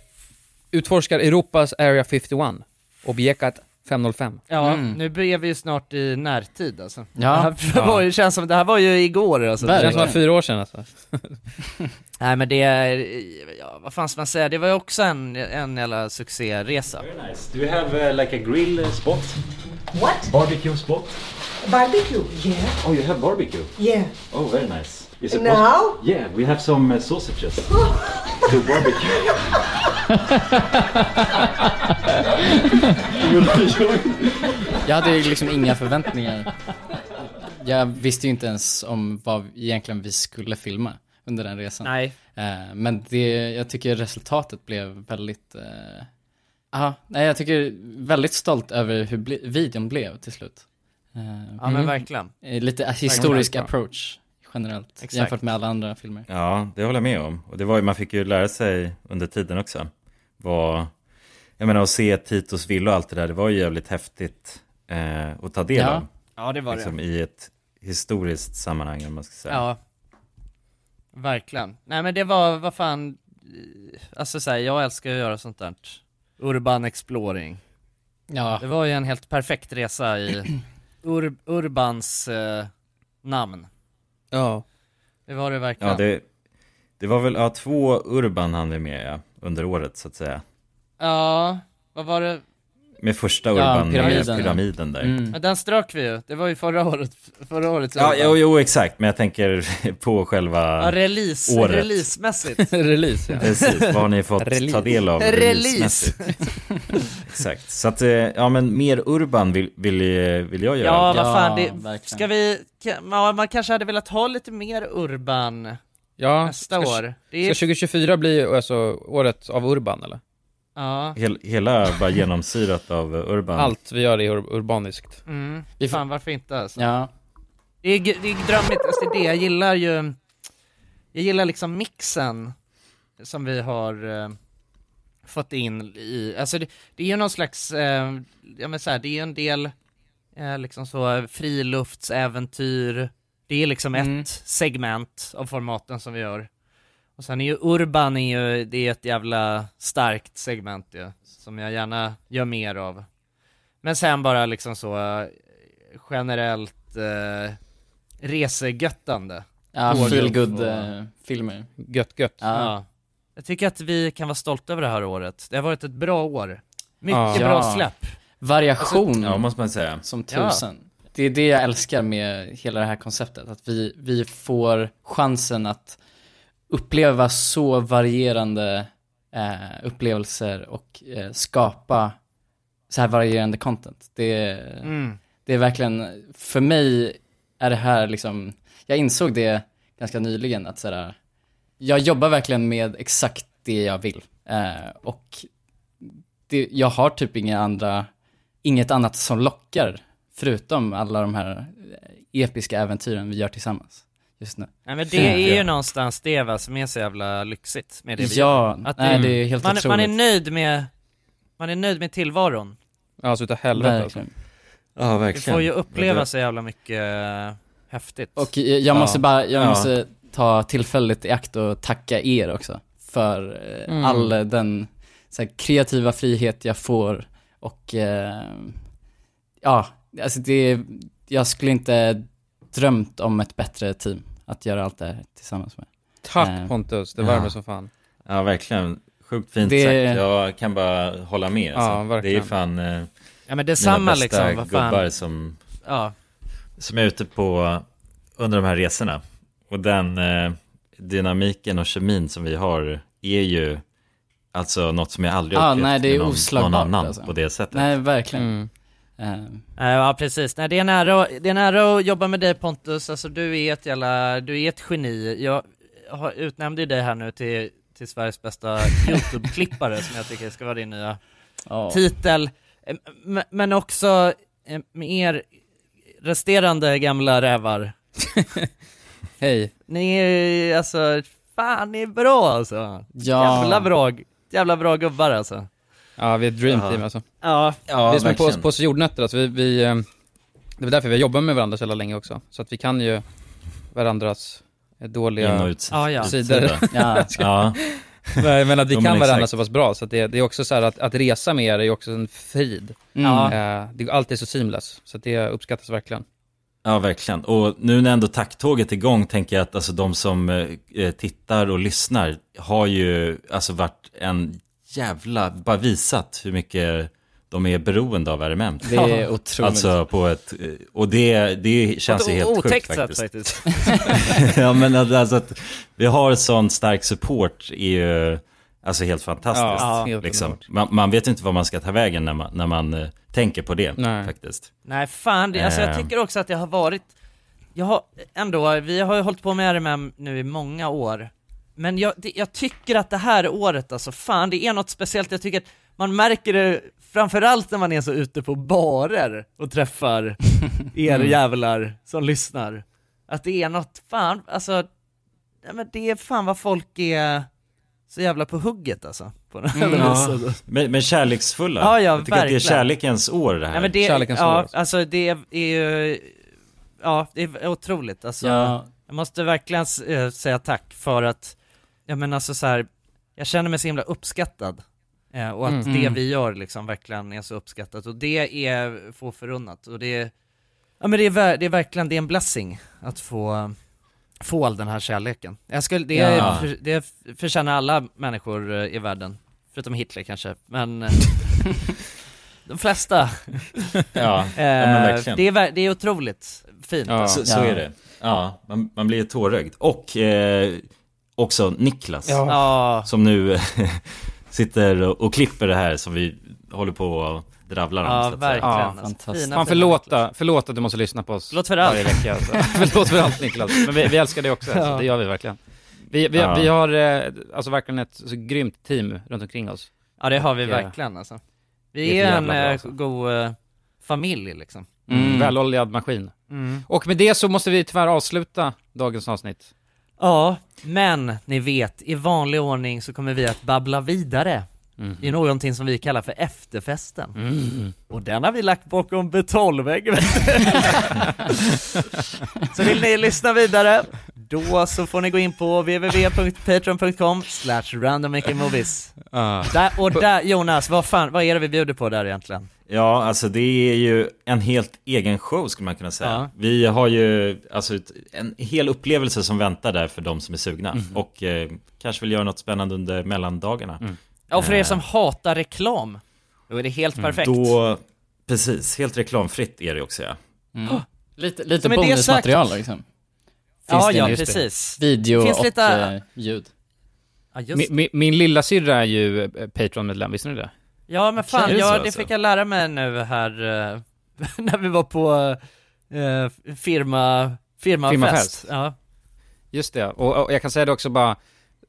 Speaker 2: Utforskar Europas Area 51, objektet 5.05.
Speaker 1: Ja, nu är vi ju snart i närtid alltså.
Speaker 2: Ja.
Speaker 1: Det här <laughs> var ju, känns som, det här var ju igår alltså.
Speaker 2: Det känns som fyra år sedan alltså.
Speaker 1: Nej men det, är- ja, vad fan ska man säga, det var ju också en, en jävla succéresa.
Speaker 20: Do you have uh, like a grill uh, spot?
Speaker 21: What?
Speaker 20: Barbecue spot?
Speaker 21: Barbecue? Yeah.
Speaker 20: Oh, you have barbecue?
Speaker 21: Yeah.
Speaker 20: Oh, very nice. Is
Speaker 21: Now?
Speaker 20: possi- Yeah, we have some uh, sausages to barbecue.
Speaker 3: Jag hade ju liksom inga förväntningar. Jag visste ju inte ens om vad egentligen vi skulle filma under den resan.
Speaker 1: Nej.
Speaker 3: Eh, Men det, jag tycker resultatet blev väldigt... eh, Ja, nej jag tycker väldigt stolt över hur bli, videon blev till slut. Eh,
Speaker 1: Ja, men verkligen.
Speaker 3: Eh, Lite
Speaker 1: Verkligen.
Speaker 3: historisk
Speaker 1: Verkligen.
Speaker 3: approach generellt
Speaker 1: Exakt.
Speaker 3: jämfört med alla andra filmer.
Speaker 4: Ja, det håller jag med om. Och det var ju, man fick ju lära sig under tiden också. Vad, jag menar att se Titos villa och allt det där, det var ju jävligt häftigt eh, att ta del
Speaker 1: Ja.
Speaker 4: av.
Speaker 1: Ja, det var det.
Speaker 4: liksom, I ett historiskt sammanhang, om man ska säga.
Speaker 1: Ja. Verkligen. Nej men det var, vad fan, alltså såhär, jag älskar att göra sånt där. Urban exploring.
Speaker 3: Ja.
Speaker 1: Det var ju en helt perfekt resa i <clears throat> Ur, Urbans eh, namn.
Speaker 2: Ja.
Speaker 1: Det var det verkligen.
Speaker 4: Ja, det, det var väl ja, två Urban hann vi med ja, under året, så att säga.
Speaker 1: Ja, vad var det?
Speaker 4: Med första
Speaker 1: Ja, Mm.
Speaker 4: Urban,
Speaker 1: pyramiden.
Speaker 4: med pyramiden där.
Speaker 1: Men den strök vi ju, det var ju förra året, förra året
Speaker 4: Ja, jo, jo, exakt, men jag tänker <laughs> på själva
Speaker 1: Ja, release,
Speaker 4: året.
Speaker 1: releasmässigt.
Speaker 2: release, ja. <laughs>
Speaker 4: Precis, vad har ni fått
Speaker 1: Release.
Speaker 4: ta del av
Speaker 1: Release.
Speaker 4: releasemässigt? <laughs> Exakt, så att, eh, ja men mer urban vill, vill, eh, vill jag göra.
Speaker 1: Ja, vad fan, det, ska vi, ka- ja, man kanske hade velat ha lite mer urban
Speaker 2: Ja,
Speaker 1: nästa
Speaker 2: ska,
Speaker 1: år. Det är,
Speaker 2: Ska 2024 bli alltså, året av Urban eller?
Speaker 1: ja,
Speaker 4: Hel, hela bara genomsyrat av eh, urban.
Speaker 2: Allt vi gör är ur- urbaniskt.
Speaker 1: mm,
Speaker 3: Vi
Speaker 1: fan varför inte alltså.
Speaker 3: Ja.
Speaker 1: Det är, det är drömmigt, alltså det är det, jag gillar ju, jag gillar liksom mixen som vi har eh, fått in i, alltså det, det är ju någon slags, eh, ja men så här, det är ju en del eh, liksom så eh, friluftsäventyr, det är liksom ett segment av formaten som vi gör. Och sen är ju Urban är ju, det är ett jävla starkt segment ju, som jag gärna gör mer av. Men sen bara liksom så eh, generellt eh, resegöttande.
Speaker 3: Ja,
Speaker 1: Tågluff
Speaker 3: feel good
Speaker 1: och-
Speaker 3: eh, filmer.
Speaker 2: Gött gött.
Speaker 1: Ja. Jag tycker att vi kan vara stolta över det här året. Det har varit ett bra år. Mycket
Speaker 3: Ja.
Speaker 1: bra släpp.
Speaker 3: Variation.
Speaker 2: Alltså,
Speaker 4: Ja, måste man säga.
Speaker 3: Som
Speaker 1: Ja.
Speaker 3: tusen. Det är det jag älskar med hela det här konceptet. Att vi, vi får chansen att uppleva så varierande eh, upplevelser och eh, skapa så här varierande content. Det, är-
Speaker 1: Mm.
Speaker 3: det är verkligen, för mig är det här liksom, jag insåg det ganska nyligen att så här, jag jobbar verkligen med exakt det jag vill. Eh, och det, jag har typ inga andra, inget annat som lockar, förutom alla de här eh, episka äventyren vi gör tillsammans just nu.
Speaker 1: Nej men det är ju någonstans det va, som är så jävla lyxigt med det vi
Speaker 3: Ja,
Speaker 1: gör.
Speaker 3: nej, det är helt
Speaker 1: man, man är
Speaker 3: otroligt.
Speaker 1: nöjd med, man är nöjd med tillvaron.
Speaker 2: Ja, så utav helvete alltså.
Speaker 3: Verkligen.
Speaker 4: Ja,
Speaker 1: Vi får ju uppleva så jävla mycket eh, häftigt.
Speaker 3: Och eh, jag, jag måste bara, jag
Speaker 1: Ja.
Speaker 3: måste ta tillfället i akt och tacka er också för eh,
Speaker 1: Mm.
Speaker 3: all den så här, kreativa frihet jag får och eh, ja, alltså det, jag skulle inte drömt om ett bättre team att göra allt det här tillsammans med.
Speaker 2: Tack
Speaker 3: Eh,
Speaker 2: Pontus, det
Speaker 3: ja.
Speaker 2: värmer som fan.
Speaker 4: Ja, verkligen. Sjukt fint
Speaker 3: Det-
Speaker 4: sagt. Jag kan bara hålla med.
Speaker 2: Ja,
Speaker 4: alltså. Det är
Speaker 2: verkligen.
Speaker 4: fan eh,
Speaker 1: Ja, men detsamma
Speaker 4: mina bästa
Speaker 1: liksom, vad fan.
Speaker 4: gubbar som,
Speaker 1: Ja.
Speaker 4: som är ute på under de här resorna. Och den eh, dynamiken och kemin som vi har är ju alltså något som jag aldrig
Speaker 3: Ja,
Speaker 4: upplevt
Speaker 3: Ah, nej, det är
Speaker 4: med någon,
Speaker 3: oslagbart,
Speaker 4: någon annan
Speaker 3: alltså.
Speaker 4: på det sättet.
Speaker 3: Nej, verkligen.
Speaker 1: Eh, Ja precis, Nej, det, är nära, det är nära att jobba med dig Pontus, alltså du är ett jävla, du är ett geni. Jag har, utnämnde ju dig här nu till, till Sveriges bästa <laughs> YouTube-klippare som jag tycker ska vara din nya
Speaker 3: Ja.
Speaker 1: titel. Eh, m- Men också eh, med er resterande gamla rävar.
Speaker 2: Hej.
Speaker 1: Ni är alltså, fan ni är bra alltså.
Speaker 2: Ja.
Speaker 1: Jävla bra, jävla bra gubbar alltså.
Speaker 2: Ja, vi är ett dream
Speaker 1: Ja.
Speaker 2: team alltså.
Speaker 1: Ja. Ja,
Speaker 2: vi är som en påse,
Speaker 1: verkligen.
Speaker 2: påse jordnötter alltså. Vi, vi, eh, det är därför vi har jobbat med varandra så jävla länge också. Så att vi kan ju varandras eh, dåliga
Speaker 4: In och ut-
Speaker 1: Ja, ja.
Speaker 2: sidor.
Speaker 3: <laughs>
Speaker 4: utsida. Ja.
Speaker 2: Ska- <laughs> Nej, men att vi
Speaker 4: <laughs> Jo,
Speaker 2: kan
Speaker 4: men exakt.
Speaker 2: varandra så pass bra, så att det, det är också så här att, att resa med er är ju också en frid.
Speaker 4: Mm. Ja.
Speaker 2: Eh, det, allt är så seamless, så att det uppskattas verkligen.
Speaker 4: Ja, verkligen. Och nu när ändå tacktåget är igång tänker jag att alltså, de som eh, tittar och lyssnar har ju alltså varit en jävla, bara visat hur mycket de är beroende av RMM.
Speaker 3: Det är otroligt.
Speaker 4: Alltså på ett, eh, och det, det känns
Speaker 1: På
Speaker 4: ju
Speaker 1: ett
Speaker 4: helt
Speaker 1: otäckt
Speaker 4: sjukt
Speaker 1: sätt,
Speaker 4: faktiskt. <laughs> ja, men att- alltså att vi har sån stark support är ju alltså helt fantastiskt.
Speaker 1: Ja, helt
Speaker 4: liksom. man, man vet inte vad man ska ta vägen när man, när man eh, tänker på det
Speaker 1: Nej.
Speaker 4: faktiskt.
Speaker 1: Nej fan, det, alltså jag
Speaker 4: Eh.
Speaker 1: tycker också att jag har varit, jag har ändå, vi har ju hållit på med RMM nu i många år, men jag, det, jag tycker att det här året alltså, fan det är något speciellt, jag tycker att man märker det framförallt när man är så ute på barer och
Speaker 4: <laughs>
Speaker 1: träffar er
Speaker 22: Mm.
Speaker 1: jävlar som lyssnar, att det är något, fan alltså, nej, men det är fan vad folk är så jävla på hugget alltså. På det här
Speaker 4: Mm. Ja.
Speaker 1: viset.
Speaker 4: Men, men kärleksfulla.
Speaker 1: Ja, ja,
Speaker 4: jag tycker
Speaker 1: verkligen.
Speaker 4: att det är kärlekens år det här.
Speaker 1: Nej, men det, ja, alltså det är ju, ja det är otroligt alltså.
Speaker 4: Ja.
Speaker 1: Jag måste verkligen eh, säga tack för att, ja men alltså så här, jag känner mig så himla uppskattad. Eh, och att
Speaker 22: Mm.
Speaker 1: det
Speaker 22: Mm.
Speaker 1: vi gör liksom verkligen är så uppskattat och det är få förunnat och det är, ja men det är, ver- det är verkligen, det är en blessing att få få all den här kärleken. Jag skulle, det, är-
Speaker 22: Ja.
Speaker 1: för, det är- förtjänar alla människor eh, i världen, förutom Hitler kanske,
Speaker 22: <laughs>
Speaker 1: men eh, de flesta.
Speaker 4: Ja,
Speaker 1: Eh,
Speaker 4: ja, men verkligen.
Speaker 1: det, är, ver- det är otroligt fint.
Speaker 4: Ja, så, så är det. Ja, man, man blir tårögd. Och eh, också Niklas.
Speaker 1: Ja. Ja.
Speaker 4: Som nu <laughs> sitter och, och klipper det här som vi håller på och dravlar om.
Speaker 1: Ja,
Speaker 4: så att säga.
Speaker 1: verkligen.
Speaker 2: Ja,
Speaker 1: Alltså,
Speaker 2: fantastiskt.
Speaker 1: fina,
Speaker 2: Fan,
Speaker 1: fina
Speaker 2: förlåta, förlåt att du måste lyssna på oss
Speaker 1: Förlåt för allt.
Speaker 2: varje vecka. Alltså. <laughs> förlåt för allt Niklas, men vi, vi älskar dig också, alltså.
Speaker 1: Ja.
Speaker 2: det gör vi verkligen. Vi, vi,
Speaker 1: Ja.
Speaker 2: vi har eh, alltså verkligen ett så grymt team runt omkring oss.
Speaker 1: Ja det har vi
Speaker 2: Och, eh,
Speaker 1: verkligen alltså. Vi
Speaker 2: det är
Speaker 1: är
Speaker 2: för
Speaker 1: en
Speaker 2: jävla bra,
Speaker 1: eh,
Speaker 2: alltså.
Speaker 1: god eh, familj liksom.
Speaker 2: Mm. Väloljad maskin.
Speaker 1: Mm.
Speaker 2: Och med det så måste vi tyvärr avsluta dagens avsnitt.
Speaker 1: Ja, men ni vet, i vanlig ordning så kommer vi att babbla vidare
Speaker 2: Mhm.
Speaker 1: i någonting som vi kallar för efterfesten.
Speaker 2: Mm.
Speaker 1: Och den har vi lagt bakom
Speaker 2: <laughs>
Speaker 1: betalväggen. så vill ni lyssna vidare, då så får ni gå in på www.patreon.com slash randommakingmovies.
Speaker 2: Ja.
Speaker 1: Där, och där, Jonas, vad fan, vad är det vi bjuder på där egentligen?
Speaker 4: Ja, alltså det är ju en helt egen show skulle man kunna säga.
Speaker 1: Ja.
Speaker 4: Vi har ju alltså, ett- en hel upplevelse som väntar där för de som är sugna.
Speaker 1: Mhm. Mm.
Speaker 4: Och eh, kanske vill göra något spännande under mellandagarna.
Speaker 1: Ja, och för er
Speaker 4: Eh,
Speaker 1: som hatar reklam, då är det helt
Speaker 2: Mm,
Speaker 1: perfekt.
Speaker 4: Då, precis, helt reklamfritt är det också ja.
Speaker 3: Mm. Lite, lite
Speaker 1: Så med det
Speaker 3: bonusmaterial
Speaker 1: sagt-
Speaker 3: liksom. Finns
Speaker 1: Ja,
Speaker 3: det
Speaker 1: ja,
Speaker 3: just det.
Speaker 1: precis.
Speaker 3: Video
Speaker 1: Finns
Speaker 3: och
Speaker 1: lite-
Speaker 3: eh, ljud.
Speaker 1: Ja, just
Speaker 2: Min, min, min lilla syrra är ju eh, Patreon-medlem, visste ni det?
Speaker 1: Ja men fan,
Speaker 2: Okej.
Speaker 1: ja,
Speaker 2: Är det
Speaker 1: det
Speaker 2: så alltså?
Speaker 1: fick jag lära mig nu här eh, <laughs> när vi var på eh, firma, firmafest.
Speaker 2: Firmafest.
Speaker 1: Ja.
Speaker 2: Just det, och, och jag kan säga det också bara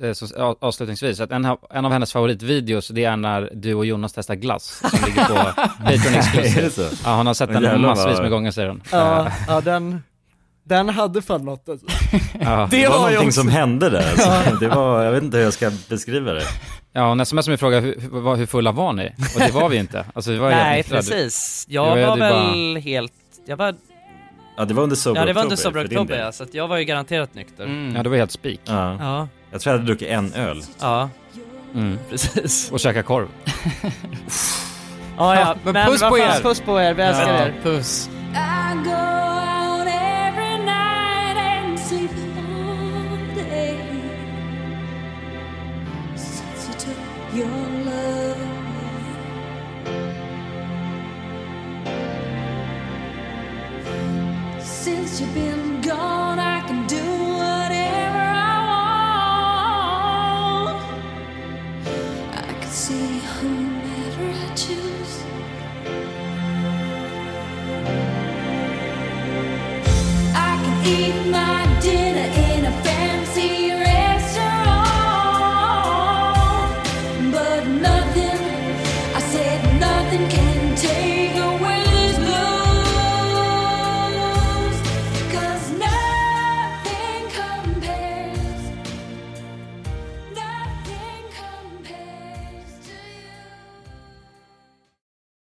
Speaker 2: eh, så, a- avslutningsvis, att en, av- en av hennes favoritvideos det är när du och Jonas testar glass som ligger på <laughs> Patreon Exclusive.
Speaker 4: Är det så?
Speaker 2: Ja, hon har sett
Speaker 4: Men
Speaker 2: den
Speaker 4: jävlar
Speaker 2: massvis
Speaker 4: vad-
Speaker 2: med gånger säger hon.
Speaker 1: Ja, ja den, den hade fan något alltså.
Speaker 2: Ja.
Speaker 4: Det, var, någonting
Speaker 2: också-
Speaker 4: som hände där. Alltså. Det var, jag vet inte hur jag ska beskriva det.
Speaker 2: Ja, hon smsade mig och frågade hur, hur, vad- hur fulla var ni? Och det var vi inte. Alltså vi var
Speaker 1: Nej
Speaker 2: jävligt fulla.
Speaker 1: precis,
Speaker 2: Det
Speaker 1: jag
Speaker 2: ju-
Speaker 1: var
Speaker 2: det
Speaker 1: väl helt, jag var,
Speaker 4: Ja, det var under sober
Speaker 1: ja det var
Speaker 4: oktober
Speaker 1: inte
Speaker 4: för
Speaker 1: sober
Speaker 4: din
Speaker 1: oktober
Speaker 4: del.
Speaker 1: ja, så att jag var ju garanterat nykter.
Speaker 2: Ja, det var helt spik.
Speaker 4: Ja.
Speaker 1: Ja.
Speaker 4: Jag tror jag hade druckit en öl.
Speaker 1: Ja.
Speaker 2: Mm.
Speaker 1: Precis.
Speaker 2: Och käka korv.
Speaker 1: Ja, ja.
Speaker 2: Men
Speaker 1: Men
Speaker 2: puss
Speaker 1: vad
Speaker 2: på
Speaker 1: fan,
Speaker 2: er!
Speaker 1: Puss på er, vi älskar
Speaker 2: Ja.
Speaker 1: er.
Speaker 3: Puss.
Speaker 18: I go out every night and sleep all day since you took your love away. Since you've been gone, I can do whatever I want. I can see whomever I choose.